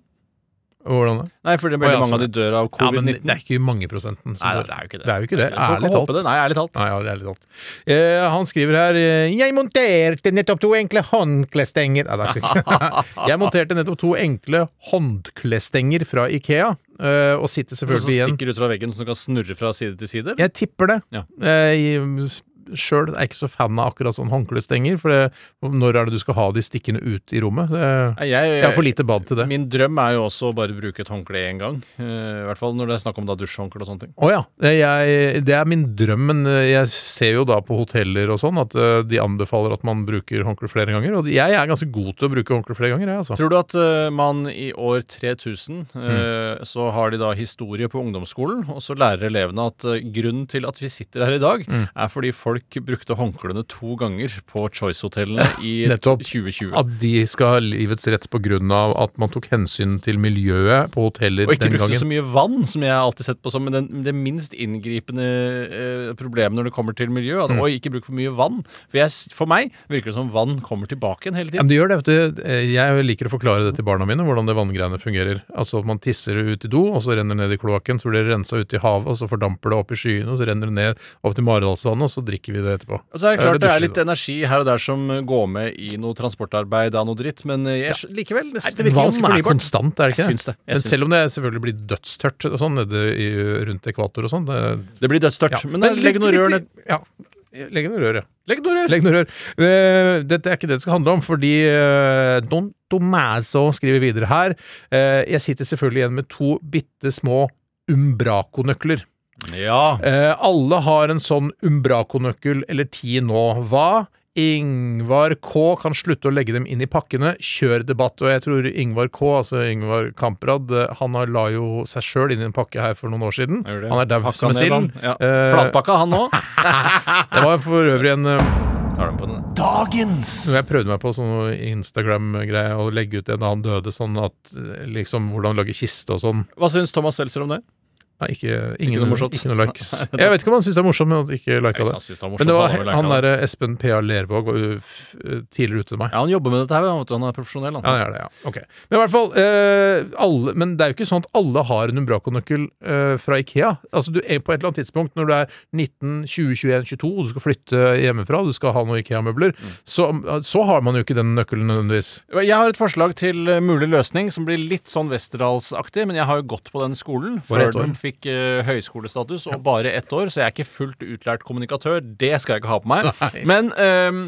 Hvordan det?
Nei, fordi
Å,
veldig
ja,
mange av de
sånn.
dør av
Ja, men
covid-19.
det er ikke mange prosenten som
Nei,
dør.
det er jo ikke det.
Det er jo ikke det.
Vi får
Ærlig
ikke håpe
talt.
det. Nei, ærlig talt.
Nei, ja, det er litt alt. Eh, han skriver her eh, 'Jeg monterte nettopp to enkle håndklestenger' Nei, det er ikke- Jeg monterte nettopp to enkle håndklestenger fra Ikea, eh, og sitter
Noe som
selvfølgelig igjen
stikker ut fra veggen, som du kan snurre fra side til side? eller?
Jeg tipper det. Eh,
Ja.
Sjøl er jeg ikke så fan av akkurat sånn håndklestenger, for det, når er det du skal ha de stikkende ut i rommet? Det,
Nei, jeg,
jeg har for lite bad til det.
Min drøm er jo også å bare bruke et håndkle én gang. eh, I hvert fall når det er snakk om da dusjhåndkle og sånne ting.
Å ja. Jeg, det er min drøm, men eh, jeg ser jo da på hoteller og sånn at eh, de anbefaler at man bruker håndkle flere ganger. Og jeg er ganske god til å bruke håndkle flere ganger, jeg, altså.
Tror du at eh, man i år 3000
Mm.
eh, så har de da historie på ungdomsskolen, og så lærer elevene at eh, grunnen til at vi sitter her i dag,
Mm.
er fordi folk brukte håndklærne to ganger på Choice-hotellene i
Nettopp.
2020.
At de skal ha livets rett på grunn av at man tok hensyn til miljøet på hoteller
Og ikke
den
brukte
gangen.
så mye vann, som jeg har alltid sett på som den, det minst inngripende eh, problemet når det kommer til miljø.
Mm.
At, Oi, ikke bruk for mye vann. For, jeg, s- for meg virker det som vann kommer tilbake igjen hele
Ja,
tiden.
men det gjør det, vet du. Eh, Jeg liker å forklare det til barna mine, hvordan det vanngreiene fungerer. Altså at man tisser det ut i do, og så renner det ned i kloakken, så blir det rensa ut i havet, og så fordamper det opp i skyene, og så renner det ned opp til Maridalsvannet, og så drikker vi det etterpå.
Og så er det klart
Eller
det er
dusjer,
litt
da.
energi her og der som eh, går med i noe transportarbeid av noe dritt, men eh, jeg, skj- likevel det, det virker
Vann
ganske
er
fornybart.
konstant, er det ikke
Jeg
det?
syns det. Jeg
Men
syns
selv om det selvfølgelig blir dødstørt og sånn nede i, rundt ekvator og sånn det,
Det blir dødstørt. Men, da, legg
litt-
noe rør
litt-
ned.
Ja. Legg noe rør, ja.
Legg noe rør!
Legg noe rør. Eh, Dette er ikke det det skal handle om, fordi eh, Don Tomaso skriver videre her. eh, Jeg sitter selvfølgelig igjen med to bitte små Umbraco-nøkler.
Ja.
Eh, Alle har en sånn Umbraco-nøkkel eller ti nå. Hva? Ingvar K kan slutte å legge dem inn i pakkene. Kjør debatt. Og jeg tror Ingvar K, altså Ingvar Kamprad, eh, han har la jo seg sjøl inn i en pakke her for noen år siden.
Jeg gjør det.
Han er daud
Pakka
som en
ned vann.
sild.
Ja.
Eh,
Flatpakka, han òg.
Det var for øvrig en eh,
Tar den på den.
Når jeg prøvde meg på sånn Instagram-greie og legge ut det da han døde, sånn at eh, liksom hvordan lage kiste og sånn
Hva syns Thomas Seltzer om det?
Nei, ikke, ingen,
noe morsomt.
Ikke noe likes.
Nei, det-
Jeg vet ikke om han syntes det er morsomt, men han ikke
Nei,
lika
hvis
det.
han syntes det var morsomt,
men det
så
var
hadde han vel
han
liket
derre Espen P.A. Lervåg var jo f- eh, tidligere ute enn meg.
Ja, Han jobber med dette her, han, vet du, han er profesjonell.
Ja,
Han.
det er det, ja. Ok. Men i hvert fall, eh, alle, men det er jo ikke sånn at alle har en Umbraco-nøkkel eh, fra Ikea. Altså, du er på et eller annet tidspunkt, når du er 19, 20, 21, 22, du skal flytte hjemmefra, du skal ha noen Ikea-møbler,
Mm.
så, så har man jo ikke den nøkkelen nødvendigvis.
Jeg har et forslag til eh, mulig løsning som blir litt sånn Westerdalsaktig, men jeg har jo gått på den skolen
Bare
før
ett år.
den fikk eh, høyskolestatus, og bare ett år, så jeg er ikke fullt utlært kommunikatør. Det skal jeg ikke ha på meg. Men ehm,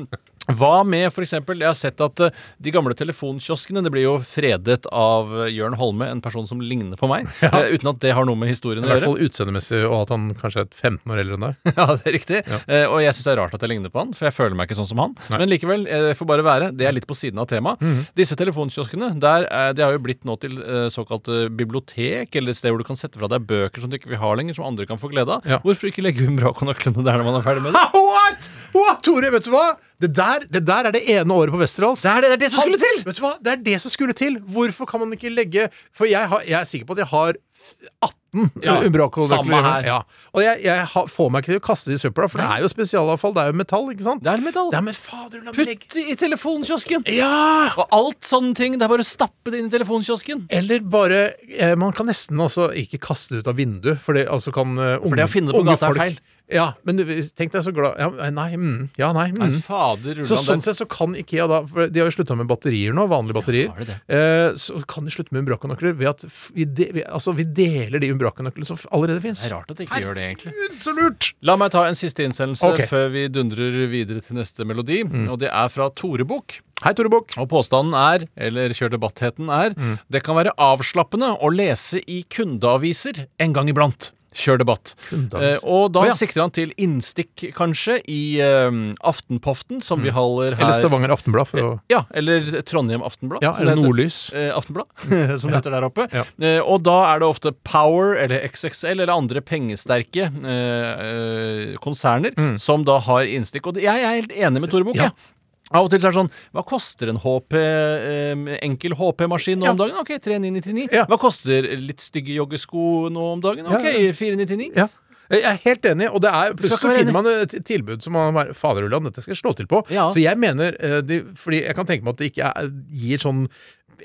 hva med f.eks. Jeg har sett at eh, de gamle telefonkioskene Det blir jo fredet av eh, Jørn Holme, en person som ligner på meg, eh, uten at det har noe med historien
I
å
hvert
gjøre.
fall utseendemessig, og at han kanskje er 15 år eldre enn deg.
Ja, det er riktig. Eh, og jeg syns det er rart at jeg ligner på han, for jeg føler meg ikke sånn som han. Men likevel, eh, det får bare være. Det er litt på siden av temaet. Disse telefonkioskene der, eh, det har jo blitt nå til eh, såkalt eh, bibliotek, eller et sted hvor du kan sette fra deg bøker som du ikke vil ha lenger, som andre kan få glede av.
Ja.
Hvorfor ikke legge Umbraco-nøklene der når man er ferdig med det?
Ha, What?! What? Tore, vet du hva? Det der, det der er det ene året på Westerdals.
Det er det, det, er det som
Han-
skulle til!
Vet du hva? Det er det som skulle til. Hvorfor kan man ikke legge For jeg, har, jeg er sikker på at jeg har f- 18
Ja,
Umbraco-nøkler.
samme
hjemme.
her.
Ja. Og jeg, jeg har, får meg ikke til å kaste det i søpla, for det er jo spesialavfall. Det er jo metall, ikke sant?
Det er metall.
Ja, men fader, la meg legge
Putt i telefonkiosken!
Ja!
Og alt sånne ting. Det er bare å stappe det inn i telefonkiosken.
Eller bare eh, Man kan nesten også ikke kaste det ut av vinduet, for det altså kan eh, unge,
For det å finne det på
unge
gata er
folk-
feil.
Ja, men du, tenk deg så glad Ja, nei. Mm, ja, nei. Mm.
Nei, fader,
Så
Rulland,
sånn
det-
sett så kan Ikea da for De har jo slutta med batterier nå, vanlige batterier.
har de det?
eh, så kan de slutte med Umbraco-nøkler ved at f- vi, de, vi, altså, vi deler de Umbraco-nøklene som f- allerede fins.
det er rart at de ikke gjør det, egentlig.
Så lurt!
La meg ta en siste innsendelse
Ok. Mm.
før vi dundrer videre til neste melodi. Og det er fra Tore Bukk.
Hei, Tore Bukk. Mm.
Og påstanden er, eller kjør debattheten er, det kan være avslappende å lese i kundeaviser en gang iblant. Kjør debatt. Eh,
Kundeaviser.
og da
Å, ja.
sikter han til innstikk, kanskje, i eh, Aftenpoften, som vi holder her.
Mm. Eller Stavanger Aftenblad. For å,
Ja, eller Trondheim Aftenblad.
ja,
som det
eller
heter.
Nordlys.
Eh, Aftenblad, som det heter der oppe.
Mm. Ja.
Eh, og da er det ofte Power eller XXL eller andre pengesterke eh, eh, konserner som da har innstikk. Og det, jeg er helt enig med Tore Bukk.
Mm. Ja.
jeg. Av og til så er det sånn Hva koster en HP, eh, enkel HP-maskin nå om dagen? Ok, 3999.
Ja.
Hva koster litt stygge joggesko nå om dagen? Ok,
Ja, ja.
499.
Ja. Jeg er helt enig, og det er,
skal
plutselig så
være
finner man et tilbud som man er Faderullan, dette skal jeg slå til på.
Ja.
Så jeg mener eh, de, Fordi jeg kan tenke meg at det ikke er, gir sånn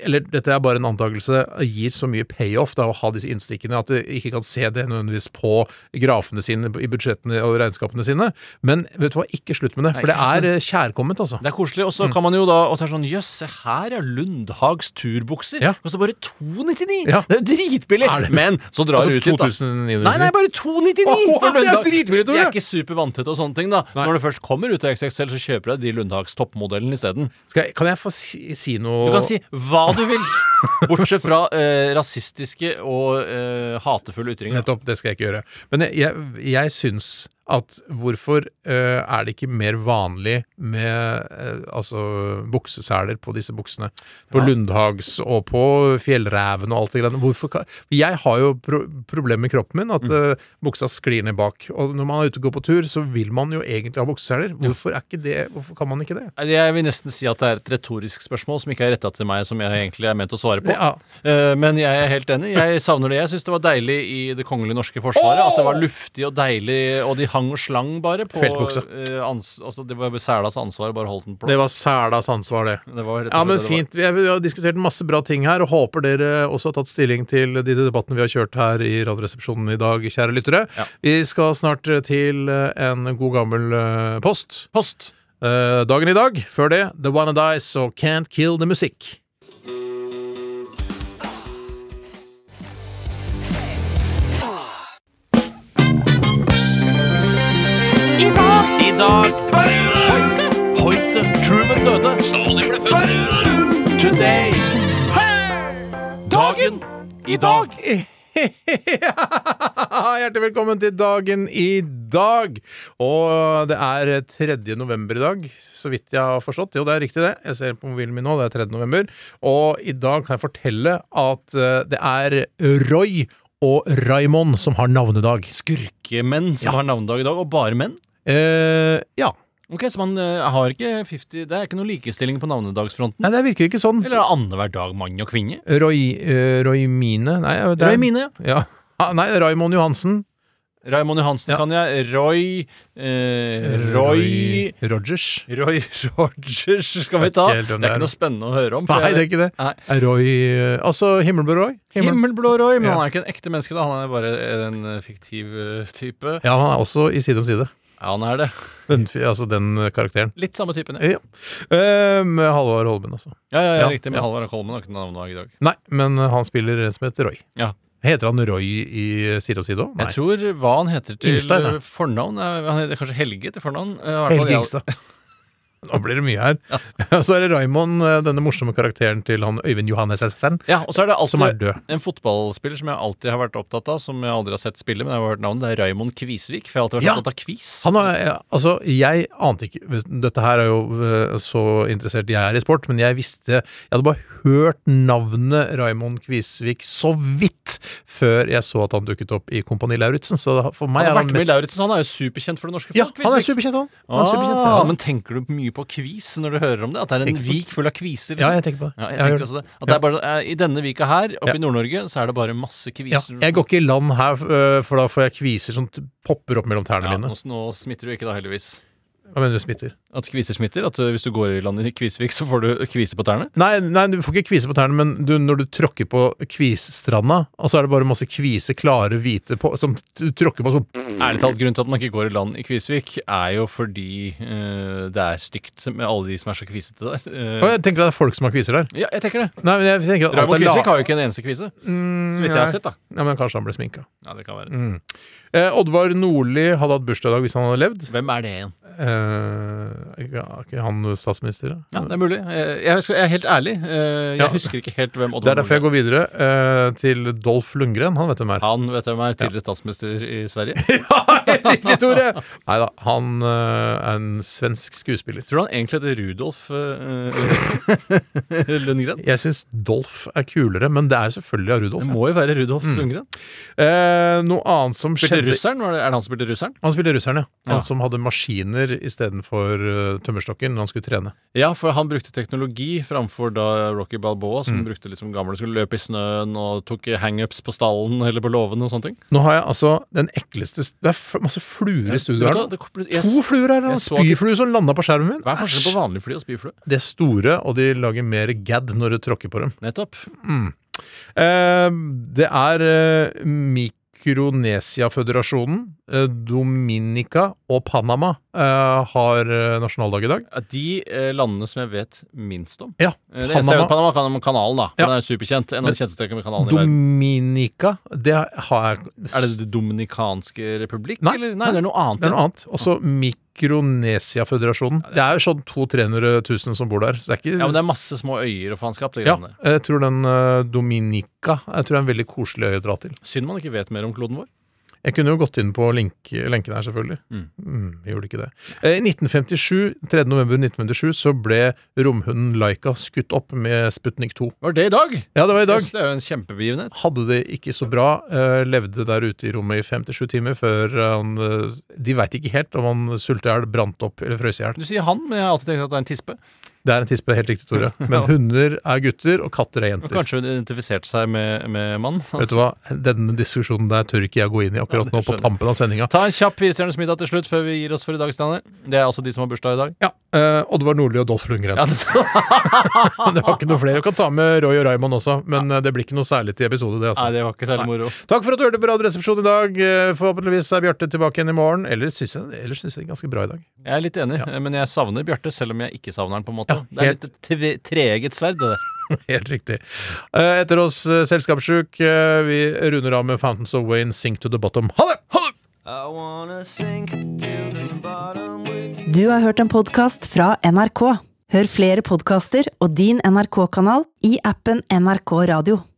eller dette er bare en antakelse, gir så mye payoff da, å ha disse innstikkene at de ikke kan se det nødvendigvis på grafene sine, i budsjettene og regnskapene sine. Men vet du hva, ikke slutt med det, for det er eh, kjærkomment, altså.
Det er koselig. Og så kan man jo da Og så er det sånn Jøss, se her, ja. Lundhags turbukser.
Ja.
Og så bare 299!
Ja.
Det er jo dritbillig!
Er det?
Men så drar
Altså,
du ut litt, da.
2999.
Nei, nei, bare 299!
Åh,
for
det er
Lundhag.
dritbillig, Tore!
De er ikke supervanntette og sånne ting, da. Så når du først kommer ut av XXL, så kjøper du deg de Lundhags toppmodellen isteden.
Skal jeg, kan jeg få si, si noe
Du kan si hva du vil, bortsett fra eh, rasistiske og eh, hatefulle ytringer.
Nettopp, det skal jeg ikke gjøre. Men jeg, jeg, jeg syns at hvorfor eh, er det ikke mer vanlig med eh, altså bukseseler på disse buksene? På Lundhags og på Fjellreven og alt det greiene. Hvorfor kan Jeg har jo pro problemer med kroppen min, at eh, buksa sklir ned bak. Og når man er ute og går på tur, så vil man jo egentlig ha bukseseler. Hvorfor, er ikke det, hvorfor kan man ikke det?
Nei, Jeg vil nesten si at det er et retorisk spørsmål som ikke er retta til meg, som jeg egentlig er ment å svare på.
Ja.
Eh, Men jeg er helt enig. Jeg savner det. Jeg syns det var deilig i Det kongelige norske forsvaret. At det var luftig og deilig, og de hang og slang bare på
Feltbuksa.
eh, ans altså, Det var selas ansvar å bare holde den på plass.
Det var selas ansvar, det.
Det var rett og
Ja,
slett
men
det det var.
fint. Vi har- vi har diskutert masse bra ting her, og håper dere også har tatt stilling til de debattene vi har kjørt her i Radioresepsjonen i dag, kjære lyttere.
Ja.
Vi skal snart eh, til en god gammel eh, post.
Post.
Eh, dagen i dag. Før det, The One and Dice og Can't Kill the Musikk.
I dag Hoite Hoite Truman døde Stalin ble født Today Dagen I dag
Hjertelig velkommen til dagen i dag. Og det er 3. november i dag, så vidt jeg har forstått. Jo, det er riktig, det. Jeg ser på mobilen min nå, det er 3. november. Og i dag kan jeg fortelle at eh, det er Roy og Raymond som har navnedag.
Skurkemenn som har navnedag i dag, og bare menn.
Eh, ja.
Ok, Så man eh, har ikke 50 Det er ikke noe likestilling på navnedagsfronten?
Nei, det virker ikke sånn.
Eller er det annenhver dag mann og kvinne?
Roy, eh, Roy Mine Nei, det er-
Røy mine, ja.
Ja. Ah, nei, Raymond Johansen.
Raymond Johansen kan jeg. Roy eh, Roy
Rogers.
Roy Rogers skal vi ta.
Vet ikke helt
Det er
hvem det er.
ikke noe spennende å høre om. for
Nei,
jeg-
det er ikke det.
Nei.
Roy eh, Altså Himmelblå Roy.
Himmelblå Roy, men
Ja.
han er jo ikke en ekte menneske, da. Han er bare en eh, fiktiv eh, type.
Ja, han er også i Side om side.
Ja, han er det. Mm.
Den, fi- altså den eh, karakteren.
Litt samme typen,
Ja.
ja.
Eh, Med Halvard Holmen, altså.
Ja, ja, ja,
Ja,
riktig. Men
ja.
Halvard Kolmen har ikke noe navnedag i dag.
Nei, men eh, han spiller en som heter Roy.
Ja.
Heter han Roy i eh, Side om side òg?
Jeg tror hva han heter til
Ingstad heter han.
eh, fornavn er, Han heter kanskje Helge til fornavn. eh, i hvert fall
Helge
jeg-
Ingstad. Nå blir det mye her. Og så er det Raymond, eh, denne morsomme karakteren til han Øyvind Johannessen,
Ja, og så er det alltid
som er død.
en fotballspiller som jeg alltid har vært opptatt av, som jeg aldri har sett spille, men jeg har hørt navnet. Det er Raymond Kvisvik, for jeg har alltid vært
Ja.
opptatt av quiz.
Han er, ja, altså, jeg ante ikke hvis- Dette her er jo eh, så interessert jeg er i sport, men jeg visste Jeg hadde bare hørt navnet Raymond Kvisvik så vidt før jeg så at han dukket opp i Kompani Lauritzen, så for meg er
Han har
han
vært med i
mest
Lauritzen, han er jo superkjent for det norske folk.
Ja, han er
Kvisvik.
superkjent, han. han er
Ah,
superkjent, ja.
Men tenker du mye på kvis når du hører om det? At det er en
Tenker på-
vik full av kviser?
ja,
Liksom?
jeg tenker på det.
Ja, jeg
Jeg gjør
tenker
det.
også det. At det er bare, eh, I denne vika her, oppe
Ja.
i Nord-Norge, så er det bare masse
Ja,
kviser.
jeg går ikke i land her, øh, for da får jeg kviser som t- popper opp mellom tærne
Ja, nå,
mine.
nå smitter du ikke da, heldigvis.
Hva mener du smitter?
At kviser smitter? At eh, hvis du går i land i Kvisvik, så får du kviser på tærne?
Nei, nei, du får ikke kvise på tærne, men du, når du tråkker på kvisstranda, og så er det bare masse kvise, klare, hvite på, som du tråkker på sånn
Ærlig talt, grunnen til at man ikke går i land i Kvisvik, er jo fordi eh, det er stygt med alle de som er så kvisete der. Eh,
Og jeg tenker at det er folk som har kviser der.
ja, jeg tenker det.
Nei, men jeg tenker at alt
Raymond
er la...
Kvisvik har jo ikke en eneste kvise. Så vidt jeg
nei.
har sett, da.
Ja, men kanskje han ble sminka.
Ja, det kan være.
Mm. Eh, Oddvar Nordli hadde hatt bursdag i dag hvis han hadde levd.
Hvem er det igjen?
Eh, ja, ikke han statsminister,
Ja, det er mulig. Eh, Jeg, skal, jeg er helt ærlig. Eh, Jeg
Ja.
husker ikke helt hvem
Det
Oddvar
er derfor jeg går videre eh, til Dolf Lundgren. Han vet hvem er.
Han vet hvem er. Tidligere statsminister i Sverige.
Helt riktig, Tore! Nei da, han øh, er en svensk skuespiller.
Tror du han egentlig heter Rudolf eh, eh, Lundgren?
Jeg syns Dolf er kulere, men det er jo selvfølgelig av
Det
Rudolf.
må jo være Rudolf Lundgren.
Eh, noe annet som
Spilte
skjedde
russeren? Var det, er det han som spilte russeren?
Han spilte russeren, ja. Han
Ja.
som hadde maskiner istedenfor uh, tømmerstokken når han skulle trene.
Ja, for han brukte teknologi framfor da Rocky Balboa, som brukte liksom gamle skulle løpe i snøen og tok hangups på stallen eller på låven og sånne ting.
Nå har jeg altså den ekleste Det er f masse fluer i studio her.
Vet du
nå.
hva, det- jeg-
To fluer her!
jeg
og
så ikke-
Spyflue som landa på skjermen min.
Hva er forskjellen
Æsj.
på vanlig fly og spyflue?
De er store, og de lager mer gadd når du tråkker på dem. Mm.
Nettopp.
Eh, det er eh, Mikronesia-føderasjonen, eh, Dominica og Panama eh, har eh, nasjonaldag i dag.
Er De eh, landene som jeg vet minst om.
Ja,
Eh, Det eneste jeg vet,
Panama.
Panama kan- kanalen, da.
Ja.
Den er superkjent. En av de kjenteste kanalene i verden.
Dominica, det har jeg
Er det Det dominikanske republikk,
Nei,
eller? Nei, det er noe annet.
Det er noe annet. Også Mikronesia-føderasjonen. Det er sånn 200 000-300 000 som bor der, så det er ikke
Ja, men det er masse små øyer og faenskap. det
Ja,
greiene der.
jeg tror den eh, Dominica Jeg tror det er en veldig koselig øy å dra til.
Synd man ikke vet mer om kloden vår.
Jeg kunne jo gått inn på link, lenken her, selvfølgelig.
Mm.
Mm, jeg gjorde ikke det. Eh, I 1957, 3. november 1957 så ble romhunden Laika skutt opp med Sputnik 2.
Var det i dag?
Ja, det var i dag.
Jøss, Det er jo en kjempebegivenhet.
Hadde det ikke så bra. eh, levde der ute i rommet i 57 timer før han eh, De veit ikke helt om han sulta i hjel, brant opp eller frøs i hjel.
Du sier han, men jeg har alltid tenkt at det er en tispe.
Det er en tispe, helt riktig, Tore. Men hunder er gutter, og katter er
Og
jenter.
kanskje hun identifiserte seg med, med mann.
Vet du hva, Denne diskusjonen der tør ikke jeg gå inn i akkurat nå, på tampen av sendinga.
Ta en kjapp firestjerners middag til slutt før vi gir oss for i dag, Steinar. Det er altså de som har bursdag i dag.
Ja, eh, Oddvar Nordli og Dolf Lundgren.
Ja, det-
Det var ikke noe flere. Du kan ta med Roy og Raymond også, men eh, det blir ikke noe særlig til episode, det.
Nei,
Altså.
det var ikke særlig
Nei.
moro.
Takk for at du hørte på Radioresepsjonen i dag. Eh, Forhåpentligvis er Bjarte tilbake igjen i morgen. Ellers syns jeg, ellers synes jeg det er ganske bra i dag.
Jeg er litt enig, men jeg savner Bjarte, selv om jeg ikke savner han, på en måte.
Ja,
det er litt tve- treeget sverd, det der.
Helt riktig. Eh, Etter oss eh, Selskapssjuk. Eh, Vi runder av med Fountains of Wayne, Sink to the Bottom. Ha det! Ha det!
Du har hørt en podkast fra NRK. Hør flere podkaster og din NRK-kanal i appen NRK Radio.